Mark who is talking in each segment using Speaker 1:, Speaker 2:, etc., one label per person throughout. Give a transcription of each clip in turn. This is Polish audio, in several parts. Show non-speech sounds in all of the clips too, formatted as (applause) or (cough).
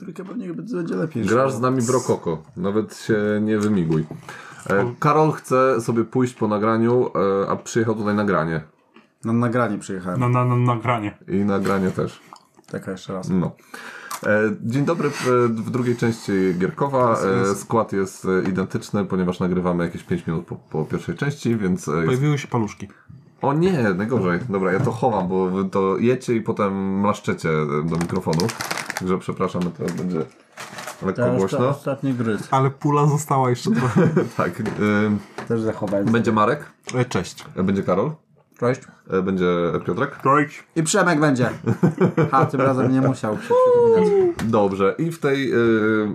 Speaker 1: trójkę pewnie będzie lepiej.
Speaker 2: Grasz z nami w Rokoko, nawet się nie wymiguj. E, Karol chce sobie pójść po nagraniu, e, a przyjechał tutaj nagranie.
Speaker 1: Na nagranie przyjechałem.
Speaker 3: Na, na, na nagranie.
Speaker 2: I nagranie też.
Speaker 1: Taka jeszcze raz.
Speaker 2: No. E, Dzień dobry, e, w drugiej części Gierkowa. E, Skład jest e, identyczny, ponieważ nagrywamy jakieś 5 minut po, po pierwszej części, więc... e, Jest...
Speaker 3: Pojawiły się paluszki.
Speaker 2: O nie, najgorzej. Dobra, ja to chowam, bo wy to jecie i potem mlaszczecie e, do mikrofonu. Także przepraszam, to będzie lekko głośno.
Speaker 1: ostatni gryz.
Speaker 3: Ale pula została jeszcze trochę.
Speaker 2: Tak. e,
Speaker 1: Też zachowałem.
Speaker 2: Będzie Marek,
Speaker 3: (laughs) E, Cześć.
Speaker 2: e, będzie Karol,
Speaker 1: Cześć.
Speaker 2: e, będzie Piotrek.
Speaker 3: Cześć.
Speaker 1: I Przemek (laughs) będzie. Ha, tym razem nie musiał się przypominać.
Speaker 2: Dobrze, i w tej, y,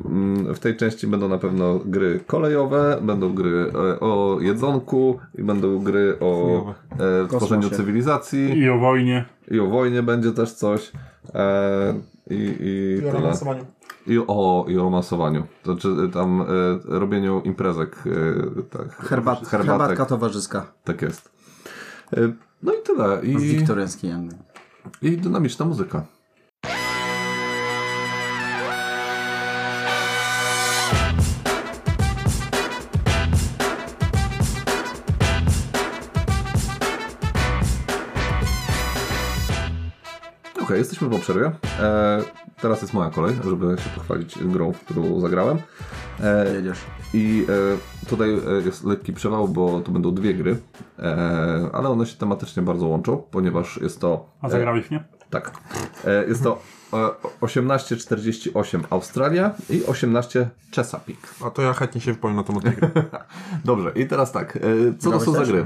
Speaker 2: mm, w tej części będą na pewno gry kolejowe, będą gry e, o jedzonku i będą gry o e, tworzeniu
Speaker 1: Kosmosie.
Speaker 2: cywilizacji
Speaker 3: I o wojnie.
Speaker 2: i o wojnie będzie też coś. E, i, i,
Speaker 4: I o
Speaker 2: tyle.
Speaker 4: romansowaniu.
Speaker 2: I o, I o masowaniu. To znaczy y, tam e, robieniu imprezek. E, tak,
Speaker 1: Herbat,
Speaker 2: herbatek.
Speaker 1: herbatka towarzyska.
Speaker 2: Tak jest. E, no i tyle.
Speaker 1: W
Speaker 2: I,
Speaker 1: wiktoriańskiej Anglii.
Speaker 2: i dynamiczna muzyka. Okej, jesteśmy po przerwie. E, teraz jest moja kolej, żeby się pochwalić grą, w którą zagrałem. E,
Speaker 1: Jedziesz.
Speaker 2: i e, tutaj e, jest lekki przewał, bo to będą dwie gry, e, ale one się tematycznie bardzo łączą, ponieważ jest to.
Speaker 4: E,
Speaker 3: A zagrałeś, nie?
Speaker 2: Tak. E, jest to e, 1848 Australia i 18 Chesapeake.
Speaker 4: A to ja chętnie się wypowiem na temat tej gry.
Speaker 2: (laughs) Dobrze, i teraz tak. E, co to
Speaker 1: Grałeś
Speaker 2: są za
Speaker 1: też?
Speaker 2: gry?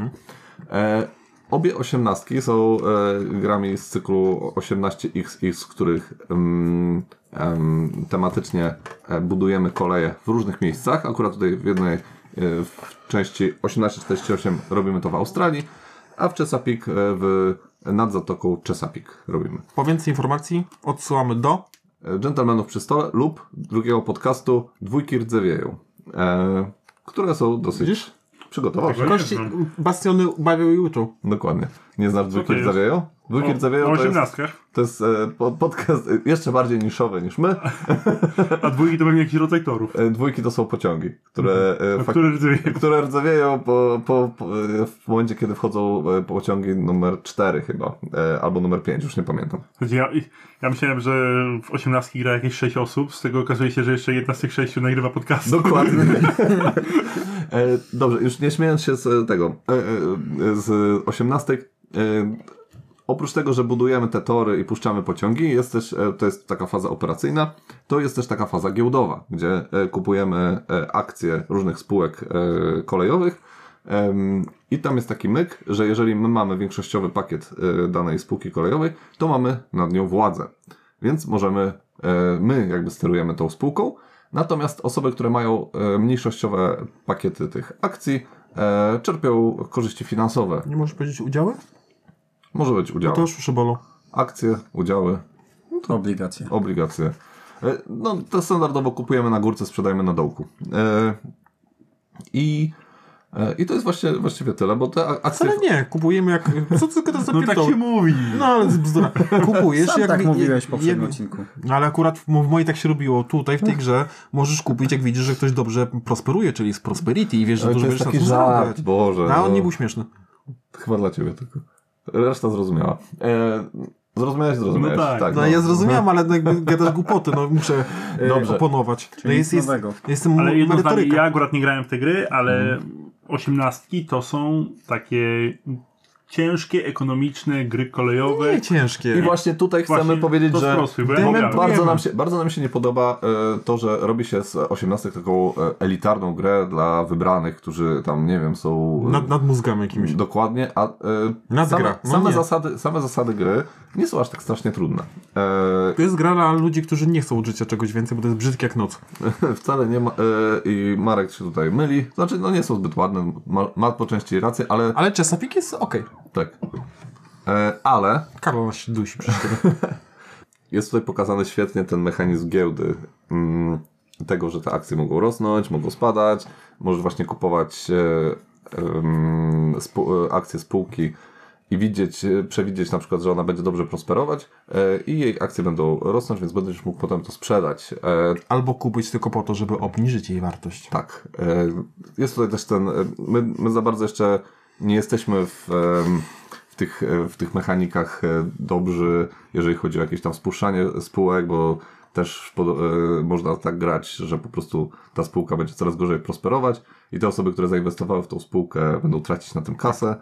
Speaker 2: E, obie osiemnastki są e, grami z cyklu 18XX, z których mm, em, tematycznie e, budujemy koleje w różnych miejscach. Akurat tutaj w jednej e, w części 1848 robimy to w Australii, a w Chesapeake e, w, nad zatoką Chesapeake robimy.
Speaker 4: Po więcej informacji odsyłamy do...
Speaker 2: E, Dżentelmenów przy stole lub drugiego podcastu Dwójki rdzewieją, e, które są dosyć...
Speaker 4: Widzisz?
Speaker 2: Przygotował się.
Speaker 4: Kości,
Speaker 3: no. Mhm.
Speaker 4: bastiony bawią i uczą.
Speaker 2: Dokładnie. Nie znasz Dwójki
Speaker 3: to jest?
Speaker 2: Rdzawiają? Dwójki Rdzawiają
Speaker 3: o
Speaker 2: no, to jest,
Speaker 3: osiemnastkach.
Speaker 2: to jest e, po- podcast e, jeszcze bardziej niszowy niż my.
Speaker 3: A dwójki to pewnie jakiś rodzaj torów.
Speaker 2: E, Dwójki to są pociągi, które, e, fak-
Speaker 3: Mhm. Który rdzej?
Speaker 2: które rdzewieją po, po, po, e, w momencie, kiedy wchodzą e, pociągi numer 4 chyba, e, albo numer 5, już nie pamiętam.
Speaker 3: Znaczy, (laughs) Ja, ja myślałem, że w osiemnastki gra jakieś sześć osób, z tego okazuje się, że jeszcze jedna z tych sześciu nagrywa podcast.
Speaker 2: Dokładnie. e, dobrze, już nie śmiejąc się z tego, e, e, z osiemnastek, e, oprócz tego, że budujemy te tory i puszczamy pociągi, jest też, e, to jest taka faza operacyjna, to jest też taka faza giełdowa, gdzie e, kupujemy e, akcje różnych spółek e, kolejowych. em, I tam jest taki myk, że jeżeli my mamy większościowy pakiet e, danej spółki kolejowej, to mamy nad nią władzę. Więc możemy, e, my jakby sterujemy tą spółką, natomiast osoby, które mają e, mniejszościowe pakiety tych akcji, e, czerpią korzyści finansowe.
Speaker 4: Nie możesz powiedzieć udziały?
Speaker 2: Może być udział,
Speaker 4: No To już uszy bolą.
Speaker 2: akcje, udziały,
Speaker 1: No To obligacje.
Speaker 2: obligacje. E, No, to standardowo kupujemy na górce, sprzedajemy na dołku. E, I, e, i to jest właśnie, właściwie tyle, bo te a- akcje...
Speaker 4: Wcale nie, kupujemy jak... Co ty tylko to za
Speaker 3: No tak się mówi.
Speaker 4: No ale z bzdura. Kupujesz
Speaker 1: Sam
Speaker 4: jak...
Speaker 1: tak
Speaker 4: wi-
Speaker 1: mówiłeś w
Speaker 4: jak-
Speaker 1: poprzednim odcinku.
Speaker 4: No ale akurat w, w mojej tak się robiło. Tutaj
Speaker 2: No.
Speaker 4: w tej grze możesz kupić, jak widzisz, że ktoś dobrze prosperuje, czyli z prosperity i wiesz, że
Speaker 2: Ale
Speaker 4: dużo
Speaker 2: to jest
Speaker 4: będziesz na tym
Speaker 2: taki żart,
Speaker 4: zarabiać.
Speaker 2: Boże.
Speaker 4: No, on
Speaker 2: no.
Speaker 4: nie był śmieszny.
Speaker 2: Chyba dla ciebie tylko. Reszta zrozumiała. E, zrozumiałeś, zrozumiałeś.
Speaker 3: No tak,
Speaker 4: No, ja zrozumiałem, ale no, jakby gadasz głupoty, no muszę e,
Speaker 2: Dobrze.
Speaker 4: oponować. no,
Speaker 1: nic
Speaker 4: jest, jest,
Speaker 1: nowego.
Speaker 4: jestem
Speaker 3: Ale jedno zdanie,
Speaker 4: no, merytoryka.
Speaker 3: ja akurat nie grałem w te gry, ale osiemnastki to są takie ciężkie, ekonomiczne gry kolejowe.
Speaker 4: Nie ciężkie.
Speaker 2: I właśnie tutaj chcemy
Speaker 3: Właśnie
Speaker 2: powiedzieć,
Speaker 3: to
Speaker 2: że
Speaker 3: sprostuj, bo ja nie grałem.
Speaker 2: bardzo nam, się, bardzo nam się nie podoba e, to, że robi się z 18 taką e, elitarną grę dla wybranych, którzy tam, nie wiem, są... e,
Speaker 4: Nad, nad mózgami jakimiś.
Speaker 2: Dokładnie, a e,
Speaker 4: Nadgra.
Speaker 2: same,
Speaker 4: No
Speaker 2: same,
Speaker 4: nie.
Speaker 2: zasady, same zasady gry nie są aż tak strasznie trudne. E, (laughs)
Speaker 4: To jest gra dla ludzi, którzy nie chcą od życia czegoś więcej, bo to jest brzydkie jak noc.
Speaker 2: wcale nie ma... E, I Marek się tutaj myli. Znaczy, no nie są zbyt ładne, ma, ma po części rację, ale...
Speaker 4: Ale Chesapeake jest okej.
Speaker 2: Tak. E, ale
Speaker 4: Karol nas się dusi przecież.
Speaker 2: jest tutaj pokazany świetnie ten mechanizm giełdy. Mm, tego, że te akcje mogą rosnąć, mogą spadać, możesz właśnie kupować e, em, spół- e, akcje spółki i widzieć, e, przewidzieć na przykład, że ona będzie dobrze prosperować e, i jej akcje będą rosnąć, więc będziesz mógł potem to sprzedać. E,
Speaker 4: Albo kupić tylko po to, żeby obniżyć jej wartość.
Speaker 2: tak. E, Jest tutaj też ten. e, My, my za bardzo jeszcze nie jesteśmy w, em, w, tych, e, w tych mechanikach e, dobrzy, jeżeli chodzi o jakieś tam spuszczanie spółek, bo też pod, e, można tak grać, że po prostu ta spółka będzie coraz gorzej prosperować i te osoby, które zainwestowały w tą spółkę, będą tracić na tym kasę.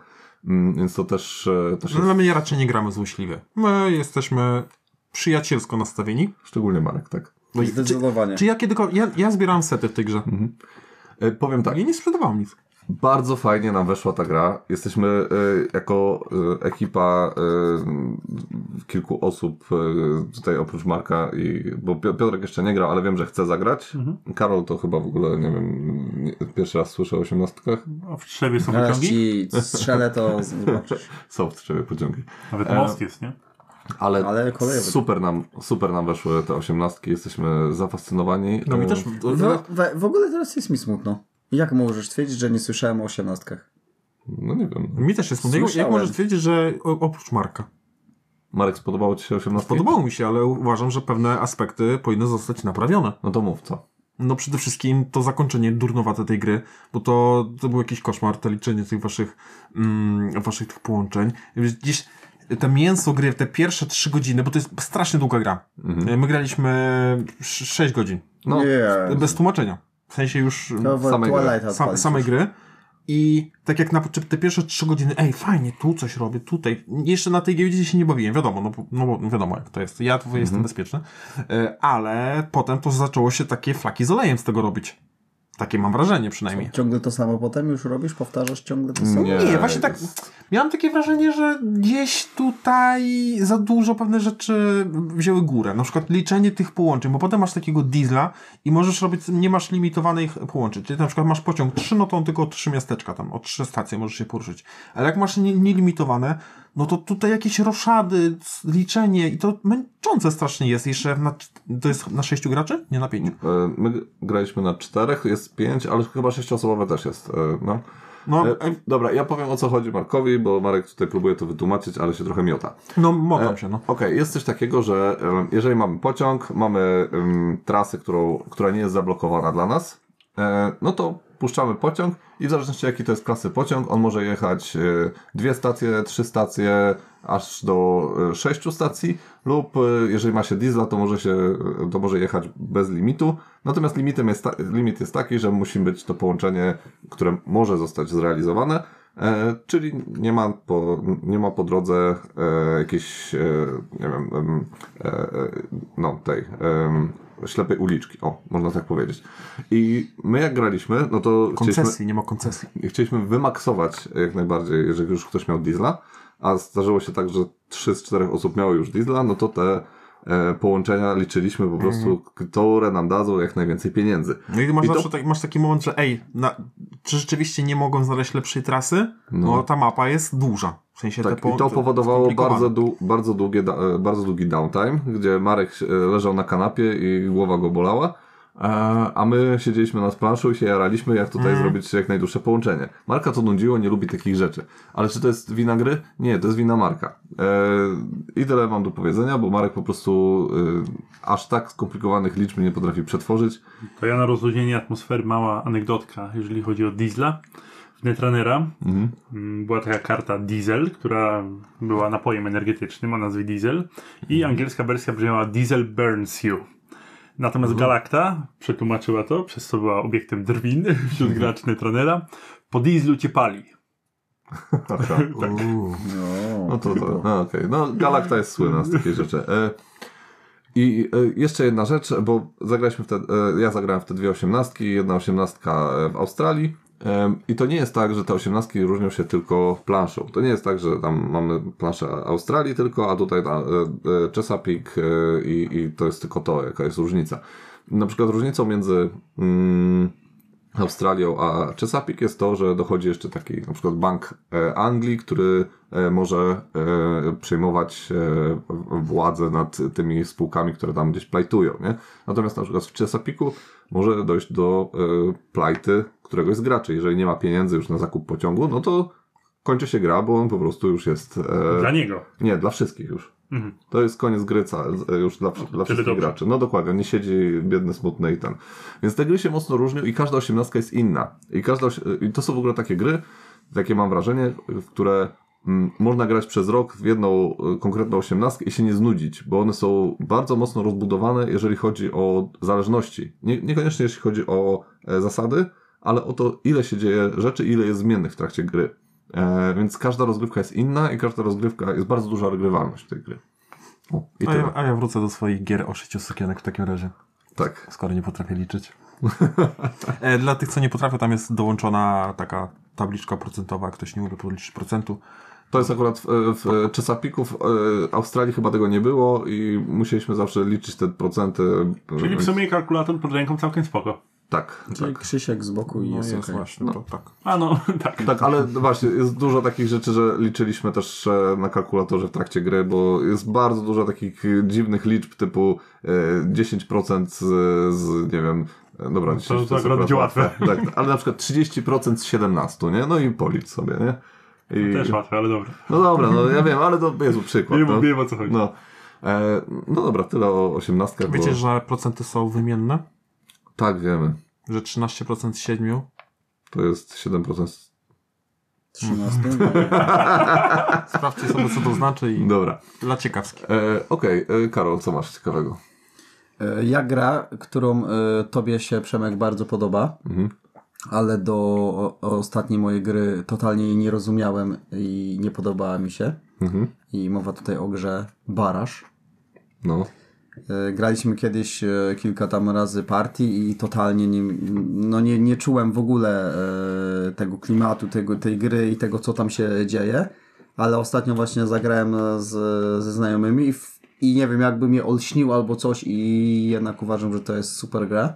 Speaker 2: Mm, Więc to też, e, też
Speaker 4: No,
Speaker 2: jest
Speaker 4: my raczej nie gramy złośliwie. My jesteśmy przyjacielsko nastawieni.
Speaker 2: szczególnie Marek, tak.
Speaker 4: No i- czy,
Speaker 1: Zdecydowanie.
Speaker 4: czy ja kiedykolwiek... Ja, ja zbierałem sety w tej grze.
Speaker 2: E, Powiem tak.
Speaker 4: Ja nie sprzedawałem nic.
Speaker 2: Bardzo fajnie nam weszła ta gra. Jesteśmy e, jako e, ekipa e, kilku osób, e, tutaj oprócz Marka, i, bo Pio- Piotrek jeszcze nie grał, ale wiem, że chce zagrać. Karol to chyba w ogóle, nie wiem, nie, pierwszy raz słyszę o osiemnastkach.
Speaker 3: A No, W trzewie są
Speaker 1: Zaraz
Speaker 3: pociągi?
Speaker 1: ci strzelę, to (laughs) zobaczysz.
Speaker 2: Są w trzewie pociągi.
Speaker 3: Nawet most jest, nie?
Speaker 2: Ale,
Speaker 1: Ale kolejowe.
Speaker 2: super, nam, super nam weszły te osiemnastki. Jesteśmy zafascynowani.
Speaker 4: No mi
Speaker 2: E,
Speaker 4: też...
Speaker 1: W, we, w ogóle teraz jest mi smutno. Jak możesz twierdzić, że nie słyszałem o osiemnastkach?
Speaker 2: No nie wiem.
Speaker 4: Mi też jest smutno. Jak, jak
Speaker 1: Słyszałem.
Speaker 4: możesz twierdzić, że o- oprócz Marka?
Speaker 2: Marek, spodobało Ci się osiemnastki?
Speaker 4: Podobało mi się, ale uważam, że pewne aspekty powinny zostać naprawione.
Speaker 2: No to mów, co?
Speaker 4: No przede wszystkim to zakończenie durnowate tej gry, bo to, to był jakiś koszmar, to liczenie tych waszych, mm, waszych tych połączeń. Gdzieś te mięso gry, te pierwsze trzy godziny, bo to jest strasznie długa gra.
Speaker 1: Mhm.
Speaker 4: My graliśmy sz- sześć godzin,
Speaker 2: No,
Speaker 1: nie.
Speaker 4: bez tłumaczenia. W sensie już
Speaker 1: To w
Speaker 2: samej gry.
Speaker 1: Twilighta
Speaker 4: sam,
Speaker 1: odpalisz.
Speaker 4: samej gry. I tak jak na początku, te pierwsze trzy godziny, ej, fajnie, tu coś robię, tutaj. Jeszcze na tej giełdzie się nie bawiłem, wiadomo, no, bo- no bo wiadomo jak to jest. Ja tu jestem bezpieczny. E, Ale potem to zaczęło się takie flaki z olejem z tego robić. Takie mam wrażenie przynajmniej.
Speaker 1: Ciągle to samo potem już robisz? Powtarzasz ciągle to samo?
Speaker 2: nie,
Speaker 4: Nie, właśnie tak. Miałem takie wrażenie, że gdzieś tutaj za dużo pewne rzeczy wzięły górę. Na przykład liczenie tych połączeń, bo potem masz takiego diesla i możesz robić, nie masz limitowanych połączeń. Czyli na przykład masz pociąg 3, no to on tylko o 3 miasteczka tam, o 3 stacje możesz się poruszyć. Ale jak masz nie- nielimitowane, no to tutaj jakieś roszady, c- liczenie i to męczące strasznie jest. Jeszcze na, to jest na 6 graczy? Nie na 5.
Speaker 2: E, My g- graliśmy na czterech, jest pięć, ale chyba sześcioosobowe też jest. e, No.
Speaker 4: No,
Speaker 2: E,
Speaker 4: e,
Speaker 2: Dobra, ja powiem o co chodzi Markowi, bo Marek tutaj próbuje to wytłumaczyć, ale się trochę miota.
Speaker 4: no motam się, no.
Speaker 2: E, Okej, jest coś takiego, że em, jeżeli mamy pociąg, mamy em, trasę, którą, która nie jest zablokowana dla nas, e, no to puszczamy pociąg i w zależności jaki to jest klasy pociąg, on może jechać e, dwie stacje, trzy stacje, aż do e, sześciu stacji lub e, jeżeli ma się diesla, to może, się, e, to może jechać bez limitu. Natomiast limitem jest ta, limit jest taki, że musi być to połączenie, które może zostać zrealizowane. E, czyli nie ma po, nie ma po drodze e, jakiejś, e, nie wiem, em, e, e, no tej, em, ślepej uliczki, o, można tak powiedzieć. I my jak graliśmy, no to chcieliśmy,
Speaker 4: Koncesji, nie ma koncesji.
Speaker 2: chcieliśmy wymaksować jak najbardziej, jeżeli już ktoś miał diesla, a zdarzyło się tak, że trzy z czterech osób miało już diesla, no to te e, połączenia liczyliśmy po prostu, które nam dadzą jak najwięcej pieniędzy.
Speaker 4: No i masz
Speaker 2: I to-
Speaker 4: zawsze tak, masz taki moment, że ej, na, czy rzeczywiście nie mogą znaleźć lepszej trasy? No, ta mapa jest duża. W sensie
Speaker 2: Tak,
Speaker 4: te po,
Speaker 2: i to
Speaker 4: te-
Speaker 2: powodowało
Speaker 4: skomplikowane.
Speaker 2: bardzo, dłu- bardzo, długie, da- e, bardzo długi downtime, gdzie Marek e, leżał na kanapie i głowa go bolała, e, a my siedzieliśmy nad planszą i się jaraliśmy, jak tutaj
Speaker 4: Mm.
Speaker 2: zrobić jak najdłuższe połączenie. Marka to nudziło, nie lubi takich rzeczy. Ale czy to jest wina gry? Nie, to jest wina Marka. E, I tyle mam do powiedzenia, bo Marek po prostu e, aż tak skomplikowanych liczb nie potrafi przetworzyć.
Speaker 3: To ja na rozluźnienie atmosfery mała anegdotka, jeżeli chodzi o diesla. W Netrunnera mm, była taka karta Diesel, która była napojem energetycznym o nazwie Diesel i angielska wersja brzmiała Diesel burns you. Natomiast Galacta przetłumaczyła to, przez co była obiektem drwin (laughs) wśród graczy Netrunnera. Po dieslu cię pali.
Speaker 4: Tak,
Speaker 2: (laughs)
Speaker 4: Uuu.
Speaker 1: No,
Speaker 2: No to, to no okej. No Galakta jest słynna z takich rzeczy. E, I e, jeszcze jedna rzecz, bo zagraliśmy wtedy, e, ja zagrałem w te dwie osiemnastki, jedna osiemnastka e, w Australii. Em, I to nie jest tak, że te osiemnastki różnią się tylko planszą. To nie jest tak, że tam mamy planszę Australii tylko, a tutaj ta, e, e, Chesapeake e, i, i to jest tylko to, jaka jest różnica. Na przykład różnicą między mm, Australią, a Chesapeake jest to, że dochodzi jeszcze taki na przykład bank e, Anglii, który e, może e, przejmować e, władzę nad tymi spółkami, które tam gdzieś plajtują. Nie? Natomiast na przykład w Chesapeake'u może dojść do e, plajty któregoś z graczy. Jeżeli nie ma pieniędzy już na zakup pociągu, no to kończy się gra, bo on po prostu już jest... e,
Speaker 3: Dla niego.
Speaker 2: Nie, dla wszystkich już.
Speaker 3: Mhm.
Speaker 2: To jest koniec gry ca- z- e, już dla, dla wszystkich
Speaker 3: dobrze.
Speaker 2: graczy. No dokładnie, nie siedzi biedny, smutny i ten. Więc te gry się mocno różnią i każda osiemnastka jest inna. I, każda, osi- I to są w ogóle takie gry, takie mam wrażenie, w które mm, można grać przez rok w jedną y, konkretną osiemnastkę i się nie znudzić, bo one są bardzo mocno rozbudowane, jeżeli chodzi o zależności. Nie, niekoniecznie jeśli chodzi o e, zasady, ale o to, ile się dzieje rzeczy, ile jest zmiennych w trakcie gry. E, więc każda rozgrywka jest inna i każda rozgrywka jest bardzo duża regrywalność tej gry. O, I
Speaker 4: A
Speaker 2: tyle.
Speaker 4: ja, No a ja wrócę do swoich gier o szyciu sukienek w takim razie.
Speaker 2: Tak.
Speaker 4: skoro nie
Speaker 2: (laughs)
Speaker 4: potrafię liczyć. e, dla tych, co nie potrafią, tam jest dołączona taka tabliczka procentowa, jak ktoś nie umie podliczyć procentu.
Speaker 2: To jest akurat w, w Chesapeake'u, w e, Australii chyba tego nie było i musieliśmy zawsze liczyć te procenty.
Speaker 3: Czyli w sumie kalkulator pod ręką całkiem spoko.
Speaker 2: Tak,
Speaker 1: Czyli
Speaker 2: tak.
Speaker 1: No, Krzysiek z boku i
Speaker 4: No
Speaker 1: jest,
Speaker 4: jest,
Speaker 1: okej.
Speaker 4: właśnie,
Speaker 2: No.
Speaker 4: to tak.
Speaker 3: A no, (laughs) tak.
Speaker 2: Tak, ale właśnie, jest dużo takich rzeczy, że liczyliśmy też e, na kalkulatorze w trakcie gry, bo jest bardzo dużo takich e, dziwnych liczb typu e, 10% z, z nie wiem, e, dobra, 10%
Speaker 3: to akurat będzie łatwe.
Speaker 2: Tak, tak, ale na przykład 30% z 17, nie? No i policz sobie, nie? I,
Speaker 3: Też łatwe, ale dobra.
Speaker 2: no dobra, no ja wiem, ale to jest przykład.
Speaker 3: Wiem,
Speaker 2: no.
Speaker 3: wiem o co chodzi.
Speaker 2: No. E, no dobra, tyle o 18.
Speaker 4: Wiecie,
Speaker 2: bo...
Speaker 4: że procenty są wymienne?
Speaker 2: Tak, wiemy.
Speaker 4: Że 13% z 7?
Speaker 2: To jest 7%.
Speaker 1: 13.
Speaker 4: Sprawdźcie sobie, co to znaczy i
Speaker 2: Dobra.
Speaker 4: dla ciekawskich.
Speaker 2: E, Okej, e, Karol, co masz ciekawego?
Speaker 1: (laughs) E, Ja gra, którą e, tobie się Przemek bardzo podoba, ale do o- ostatniej mojej gry totalnie jej nie rozumiałem i nie podobała mi się.
Speaker 2: Mhm.
Speaker 1: I mowa tutaj o grze Barasz.
Speaker 2: No.
Speaker 1: E, Graliśmy kiedyś e, kilka tam razy partii i totalnie nie, no nie, nie czułem w ogóle e, tego klimatu, tego, tej gry i tego, co tam się dzieje. Ale ostatnio właśnie zagrałem e, z, ze znajomymi i, w, i nie wiem, jakby mnie olśnił albo coś i jednak uważam, że to jest super gra.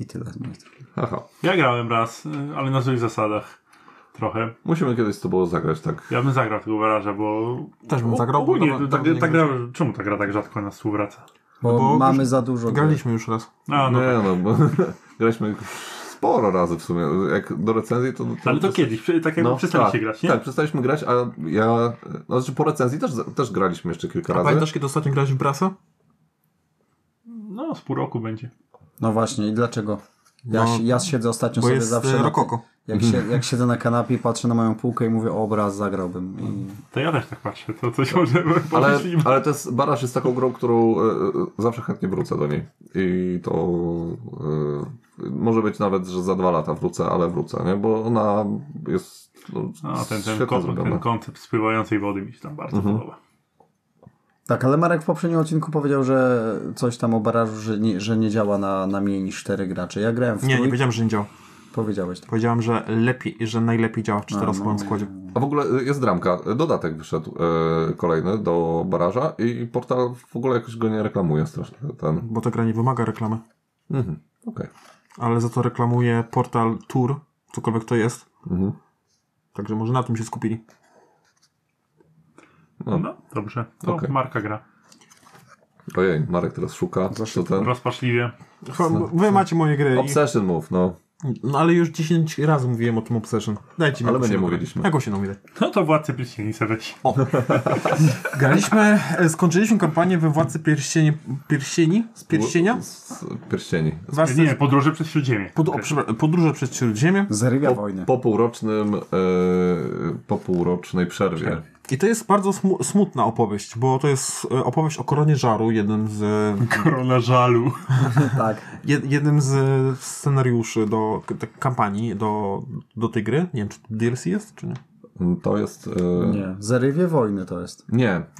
Speaker 1: I tyle. z mojej strony.
Speaker 2: Haha.
Speaker 3: Ja grałem raz, y, ale na złych zasadach. Trochę.
Speaker 2: Musimy kiedyś z tobą zagrać, tak.
Speaker 3: Ja bym zagrał tego baraża, bo...
Speaker 4: Też bym
Speaker 3: O-
Speaker 4: zagrał, bo
Speaker 3: Ogólnie,
Speaker 4: dobra-
Speaker 3: ta,
Speaker 4: dobra,
Speaker 3: ta,
Speaker 4: nie
Speaker 3: ta gra, czemu ta gra tak rzadko nas współwraca?
Speaker 1: Bo,
Speaker 4: bo
Speaker 1: mamy
Speaker 4: już
Speaker 1: za dużo gier.
Speaker 4: Graliśmy już raz.
Speaker 3: A, no.
Speaker 2: nie, no, bo (laughs) graliśmy sporo razy w sumie. Jak do recenzji, to.
Speaker 3: Ale to kiedyś, przy- tak jakby przestaliście
Speaker 2: tak,
Speaker 3: grać, nie?
Speaker 2: Tak, przestaliśmy grać, a ja. No, znaczy po recenzji też, też graliśmy jeszcze kilka
Speaker 4: A
Speaker 2: razy.
Speaker 4: pamiętasz, kiedy ostatnio grałeś w Brasa?
Speaker 3: No, z pół roku będzie.
Speaker 1: No właśnie, i dlaczego? Ja,
Speaker 4: No,
Speaker 1: si- ja siedzę ostatnio
Speaker 4: Bo
Speaker 1: sobie
Speaker 4: jest
Speaker 1: zawsze.
Speaker 4: e, Mhm.
Speaker 1: na-
Speaker 4: Rokoko.
Speaker 1: Jak, się, jak siedzę na kanapie i patrzę na moją półkę i mówię, obraz zagrałbym. I...
Speaker 3: To ja też tak patrzę, to coś może (laughs)
Speaker 2: Ale,
Speaker 3: pomyślimy.
Speaker 2: ale to jest, Barasz jest taką grą, którą e, e, zawsze chętnie wrócę do niej. I to e, może być nawet, że za dwa lata wrócę, ale wrócę, nie? Bo ona jest no,
Speaker 3: No, ten, ten,
Speaker 2: świetnie
Speaker 3: koncept,
Speaker 2: zrobiona.
Speaker 3: ten koncept spływającej wody mi się tam bardzo podoba.
Speaker 1: Tak, ale Marek w poprzednim odcinku powiedział, że coś tam o barażu, że nie, że nie działa na, na mniej niż 4 gracze. Ja grałem w
Speaker 4: Nie, nie
Speaker 1: trój-
Speaker 4: powiedziałem, że nie działa.
Speaker 1: Powiedziałeś tak.
Speaker 4: Powiedziałem, że lepiej, że najlepiej działa
Speaker 2: No,
Speaker 4: w czteroosobowym składzie.
Speaker 2: A w ogóle e, jest dramka. Dodatek wyszedł e, kolejny do Baraża i portal w ogóle jakoś go nie reklamuje strasznie. Ten.
Speaker 4: Bo ta gra nie wymaga reklamy.
Speaker 2: Mhm. Okej.
Speaker 4: Ale za to reklamuje portal Tour, cokolwiek to jest.
Speaker 2: Mhm.
Speaker 4: Także może na tym się skupili.
Speaker 2: No.
Speaker 3: No, dobrze. To
Speaker 2: Okej.
Speaker 3: Marka gra.
Speaker 2: Ojej, Marek teraz szuka. Co ten?
Speaker 3: Rozpaczliwie.
Speaker 4: Chyba Wy macie moje gry. i-
Speaker 2: Obsession Move, no.
Speaker 4: No ale już 10 razy mówiłem o tym Obsession. Dajcie mi
Speaker 2: Ale my
Speaker 4: jakąś
Speaker 2: nie
Speaker 4: inną grę.
Speaker 2: mówiliśmy.
Speaker 4: Jaką się nominę?
Speaker 3: No to Władcy Pierścieni se weź.
Speaker 4: Graliśmy, e, skończyliśmy kampanię we Władcy Pierścieni, Pierścieni? Z Pierścienia?
Speaker 2: Z, z pierścieni.
Speaker 4: Warstwy-
Speaker 3: Nie, podróże przez Śródziemie.
Speaker 4: pod, o, przepraszam, podróże przez Śródziemie.
Speaker 1: Zarywia
Speaker 2: Po,
Speaker 1: wojnę.
Speaker 2: po półrocznym, e, po półrocznej przerwie.
Speaker 4: I to jest bardzo smu- smutna opowieść, bo to jest e, opowieść o Koronie Żaru, jednym z, e,
Speaker 3: Korona żalu.
Speaker 1: Tak.
Speaker 4: jed, jednym z scenariuszy do k- tak, kampanii, do, do tej gry. Nie wiem, czy to DLC jest, czy nie?
Speaker 2: To jest. E, nie.
Speaker 1: Nie. Zarywie wojny to jest.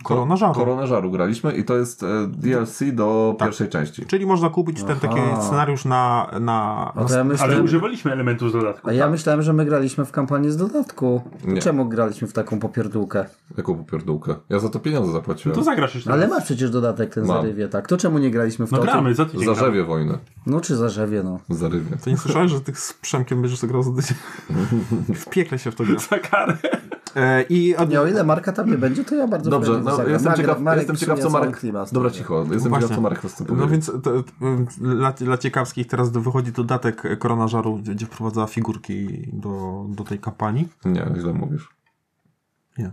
Speaker 4: Korona Żaru. Tak.
Speaker 2: Korona Żaru graliśmy i to jest e, DLC do pierwszej części.
Speaker 4: Czyli można kupić ten taki
Speaker 1: Aha.
Speaker 4: scenariusz na... na,
Speaker 1: A,
Speaker 4: na
Speaker 1: to ja
Speaker 3: Ale
Speaker 1: myślałem,
Speaker 3: używaliśmy elementów z dodatku.
Speaker 1: a ja myślałem, że my graliśmy w kampanię z dodatku.
Speaker 2: Nie.
Speaker 1: Czemu graliśmy w taką popierdółkę?
Speaker 2: Jaką popierdółkę? Ja za to pieniądze zapłaciłem.
Speaker 3: To
Speaker 4: No
Speaker 3: zagrasz jeszcze
Speaker 1: Ale
Speaker 3: raz.
Speaker 1: masz przecież dodatek ten
Speaker 2: Mam.
Speaker 1: zarywie, tak? To czemu nie graliśmy w
Speaker 3: No
Speaker 1: to?
Speaker 3: gramy, za tydzień gramy.
Speaker 2: Zarzewie wojny.
Speaker 1: No czy zarzewie, no.
Speaker 2: Zarywie.
Speaker 4: To nie słyszałeś, że tych z Przemkiem będziesz grał za tydzień? W piekle się w to gra.
Speaker 3: Za karę.
Speaker 4: E, I od...
Speaker 1: Nie, o ile Marka tam nie będzie, to ja bardzo
Speaker 2: Dobrze,
Speaker 1: chętnie
Speaker 2: no,
Speaker 1: zagram.
Speaker 2: jestem,
Speaker 1: Marek-
Speaker 2: ciekaw,
Speaker 1: Marek
Speaker 2: jestem ciekaw, co
Speaker 1: przyniosł
Speaker 2: Marek...
Speaker 1: Clima z
Speaker 2: Dobra,
Speaker 1: tego.
Speaker 2: cicho, jestem
Speaker 4: Właśnie.
Speaker 2: ciekaw, co Marek nas tym
Speaker 4: No
Speaker 2: powie.
Speaker 4: więc to, to, ym, dla, dla ciekawskich teraz do- wychodzi dodatek e, Korona Żaru, gdzie- gdzie wprowadza figurki do, do tej kampanii.
Speaker 2: Nie, źle mówisz.
Speaker 4: Nie.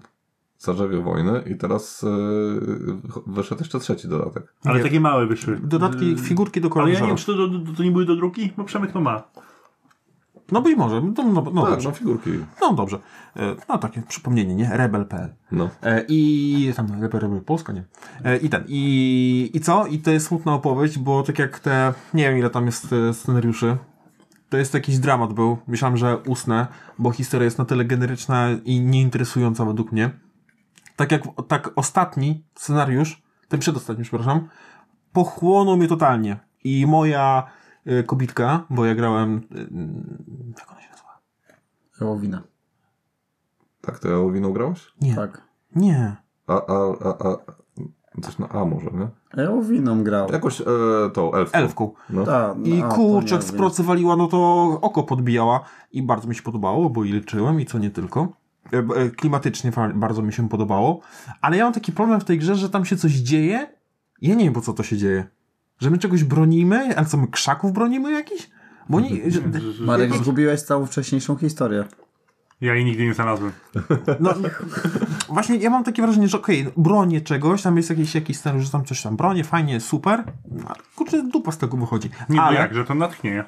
Speaker 2: Zarzewie wojny i teraz yy, wyszedł jeszcze trzeci dodatek.
Speaker 3: Ale
Speaker 4: Nie.
Speaker 3: takie małe wyszły.
Speaker 4: Dodatki,
Speaker 3: Yy,
Speaker 4: figurki do
Speaker 3: Ale
Speaker 4: Korona
Speaker 3: ja nie
Speaker 4: Żaru.
Speaker 3: wiem, czy to, do- do- to nie były do druki, bo Przemek to ma.
Speaker 4: No być może, no, no, no
Speaker 2: tak,
Speaker 4: dobrze.
Speaker 2: no figurki.
Speaker 4: No dobrze. E, No takie przypomnienie, nie? Rebel.pl.
Speaker 2: No.
Speaker 4: E, I tam Rebel, Rebel Polska, nie? E, I ten. I, I co? I to jest smutna opowieść, bo tak jak te. Nie wiem ile tam jest e, scenariuszy. To jest jakiś dramat był. Myślałem, że usnę, bo historia jest na tyle generyczna i nieinteresująca według mnie. Tak jak tak ostatni scenariusz, ten przedostatni, przepraszam, pochłonął mnie totalnie. I moja e, kobitka, bo ja grałem. y, jak ona się nazywa?
Speaker 1: Wołowina.
Speaker 2: Tak, to Jałowiną grałeś?
Speaker 4: Nie.
Speaker 1: Tak.
Speaker 4: Nie.
Speaker 2: A, a, a, a... Coś na A może, nie?
Speaker 1: Jałowiną grał.
Speaker 2: Jakoś e, tą elfką.
Speaker 4: Elfką.
Speaker 2: No.
Speaker 1: Ta,
Speaker 4: I
Speaker 1: a, to
Speaker 4: kurczak
Speaker 1: nie
Speaker 4: z
Speaker 1: wiem.
Speaker 4: procy waliła, no to oko podbijała i bardzo mi się podobało, bo i liczyłem i co nie tylko. E, b- e, Klimatycznie fa- bardzo mi się podobało, ale ja mam taki problem w tej grze, że tam się coś dzieje. Ja nie wiem po co to się dzieje. Że my czegoś bronimy, ale co my krzaków bronimy jakiś? Bo nie, że,
Speaker 1: Marek, zgubiłeś całą wcześniejszą historię.
Speaker 3: Ja jej nigdy nie znalazłem.
Speaker 4: no, właśnie ja mam takie wrażenie, że okej, bronię czegoś, tam jest jakiś, jakiś scenariusz, że tam coś tam bronię, fajnie, super, no, ale kurczę, dupa z tego wychodzi.
Speaker 3: Nie ale...
Speaker 4: ale...
Speaker 3: jak, że to natchnienie.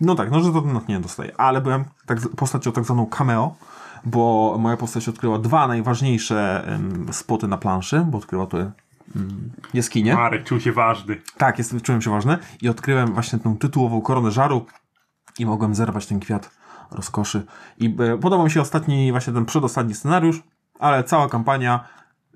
Speaker 4: No tak, no że to natchnienie dostaje, ale byłem tak, z- postacią tak zwaną cameo, bo moja postać odkryła dwa najważniejsze em, spoty na planszy, bo odkryła tu um, jaskinie.
Speaker 3: Marek czuł się ważny.
Speaker 4: Tak, jest, czułem się ważny i odkryłem właśnie tą tytułową koronę żaru i mogłem zerwać ten kwiat rozkoszy. I e, podobał mi się ostatni, właśnie ten przedostatni scenariusz, ale cała kampania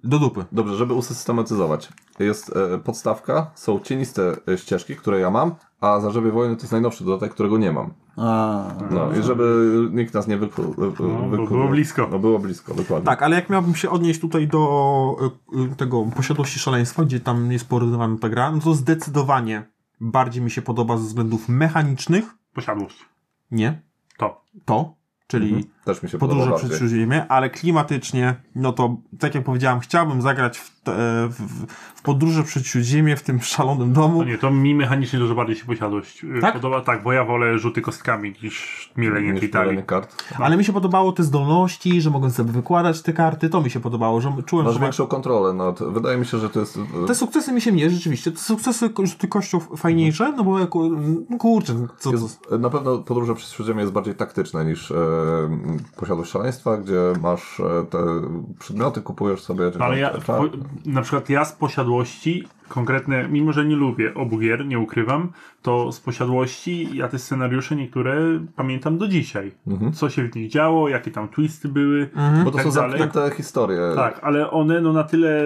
Speaker 4: do dupy.
Speaker 2: Dobrze, żeby usystematyzować. Jest e, podstawka, są cieniste e, ścieżki, które ja mam, a Zarzewie Wojny to jest najnowszy dodatek, którego nie mam.
Speaker 1: A,
Speaker 2: No i żeby nikt nas nie wykluł.
Speaker 3: No, bo było blisko.
Speaker 2: No było blisko, dokładnie.
Speaker 4: Tak, ale jak miałbym się odnieść tutaj do y, y, tego posiadłości szaleństwa, gdzie tam jest porównywana ta gra, no to zdecydowanie bardziej mi się podoba ze względów mechanicznych,
Speaker 3: Posiadłość.
Speaker 4: nie
Speaker 3: To.
Speaker 4: to, czyli
Speaker 2: Mhm. Też mi się podoba
Speaker 4: podróże
Speaker 2: bardziej.
Speaker 4: przez Śródziemie, ale klimatycznie, no to tak jak powiedziałem, chciałbym zagrać w, te, w, w- w podróże przez Śródziemie w tym szalonym domu.
Speaker 3: No nie, to mi mechanicznie dużo bardziej się posiadłość y,
Speaker 4: Tak?
Speaker 3: podoba. Tak, bo ja wolę rzuty kostkami niż mielenie
Speaker 2: Niż
Speaker 3: tej talii.
Speaker 2: podanie kart.
Speaker 4: Ale mi się podobało te zdolności, że mogłem sobie wykładać te karty, to mi się podobało, że czułem,
Speaker 2: Masz
Speaker 4: że mam-
Speaker 2: większą kontrolę nad... Wydaje mi się, że to jest... e,
Speaker 4: Te sukcesy mi się mnie rzeczywiście. Te sukcesy ko- rzuty kością fajniejsze, no bo jako, no kurczę, co to
Speaker 2: Jest, e, na pewno podróże przez Śródziemie jest bardziej taktyczne niż e, m, posiadłość szaleństwa, gdzie masz e, te przedmioty, kupujesz sobie... Czy
Speaker 3: No, ale
Speaker 2: tam-
Speaker 3: ja,
Speaker 2: czy-
Speaker 3: po, na przykład ja z posiadłości konkretne, mimo że nie lubię obu gier, nie ukrywam, to z posiadłości ja te scenariusze niektóre pamiętam do dzisiaj. Co się w nich działo, jakie tam twisty były i
Speaker 2: Mhm. Bo to
Speaker 3: tak
Speaker 2: są
Speaker 3: dalej.
Speaker 2: zamknięte historie.
Speaker 3: Tak, ale one no na tyle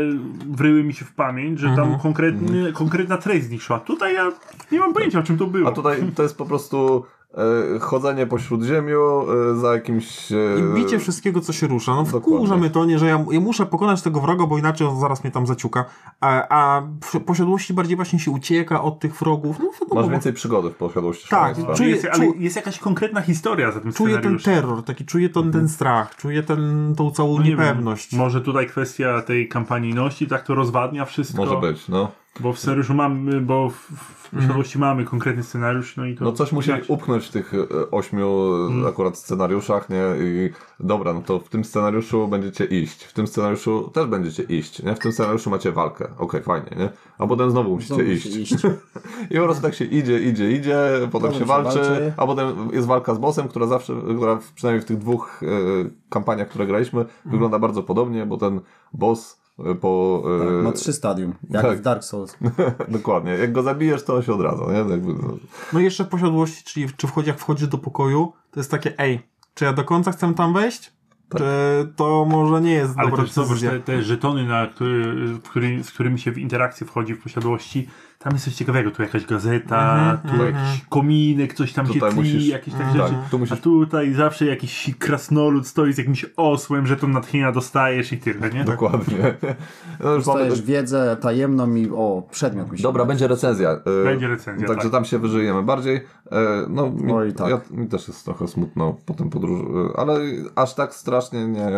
Speaker 3: wryły mi się w pamięć, że tam
Speaker 2: Mhm.
Speaker 3: konkretny, konkretna treść z nich szła. Tutaj ja nie mam pojęcia o czym to było.
Speaker 2: A tutaj to jest po prostu e, chodzenie po śródziemiu e, za jakimś. E,
Speaker 3: Yy,
Speaker 4: I bicie wszystkiego, co się rusza. No
Speaker 2: Dokładnie.
Speaker 4: wkurza mnie to, nie, że ja, ja muszę pokonać tego wroga, bo inaczej on zaraz mnie tam zaciuka. A, a w posiadłości bardziej właśnie się ucieka od tych wrogów. No wiadomo,
Speaker 2: Masz
Speaker 4: bo-
Speaker 2: więcej przygody w posiadłości
Speaker 4: Tak,
Speaker 2: szaleństwa.
Speaker 4: czuję-
Speaker 3: jest, ale
Speaker 4: czu-
Speaker 3: jest jakaś konkretna historia za tym
Speaker 4: czuję ten
Speaker 3: scenariuszem.
Speaker 4: terror, taki czuję ten, ten strach, czuję ten, tą całą
Speaker 3: Mhm. No nie wiem,
Speaker 4: niepewność.
Speaker 3: Może tutaj kwestia tej kampanijności tak to rozwadnia wszystko.
Speaker 2: Może być, no.
Speaker 3: Bo w scenariuszu mamy, bo w, w posiadłości mamy konkretny scenariusz, no i to.
Speaker 2: No coś musieli upchnąć w tych e, ośmiu e,
Speaker 4: Mm.
Speaker 2: akurat scenariuszach, nie? I dobra, no to w tym scenariuszu będziecie iść, w tym scenariuszu też będziecie iść, nie? W tym scenariuszu macie walkę, okej, fajnie, nie? A potem znowu musicie
Speaker 1: znowu
Speaker 2: iść.
Speaker 1: się
Speaker 2: (laughs)
Speaker 1: iść.
Speaker 2: I po prostu tak się idzie, idzie, idzie, potem
Speaker 1: Potem
Speaker 2: się
Speaker 1: się
Speaker 2: walczy,
Speaker 1: walczy.
Speaker 2: a potem jest walka z bossem, która zawsze, która w- przynajmniej w tych dwóch e, kampaniach, które graliśmy, wygląda bardzo podobnie, bo ten boss e, po... e,
Speaker 1: Ma trzy stadium, jak
Speaker 2: tak.
Speaker 1: w Dark Souls.
Speaker 2: (laughs) Dokładnie. Jak go zabijesz, to on się odradza. Nie? Jakby, no.
Speaker 4: No i jeszcze w posiadłości, czyli czy wchodzi, jak wchodzisz do pokoju, to jest takie, ej, czy ja do końca chcę tam wejść? Czy to może nie jest
Speaker 3: Tak. Ale
Speaker 4: dobra
Speaker 3: też zobacz,
Speaker 4: decyzja?
Speaker 3: te, te żetony, na który, w który, z którymi się w interakcję wchodzi w posiadłości, Tam jest coś ciekawego, tu jakaś
Speaker 2: Mhm,
Speaker 3: gazeta, tu jakiś kominek, coś tam się
Speaker 2: Tutaj
Speaker 3: tli,
Speaker 2: musisz-
Speaker 3: jakieś takie
Speaker 2: tak,
Speaker 3: rzeczy.
Speaker 2: tu musisz-
Speaker 3: A tutaj zawsze jakiś krasnolud stoi z jakimś osłem, że to natchnienia dostajesz i tyle, nie?
Speaker 2: Dokładnie. No już mamy,
Speaker 1: Dostajesz wiedzę tajemną i o, przedmiot mi się
Speaker 2: Dobra,
Speaker 1: podoba.
Speaker 2: będzie recenzja. e,
Speaker 3: Będzie recenzja,
Speaker 2: Także
Speaker 3: tak.
Speaker 2: tam się wyżyjemy bardziej. E, No, mi,
Speaker 1: Oj, tak.
Speaker 2: ja, mi też jest trochę smutno po tym podróży, e, ale aż tak strasznie nie,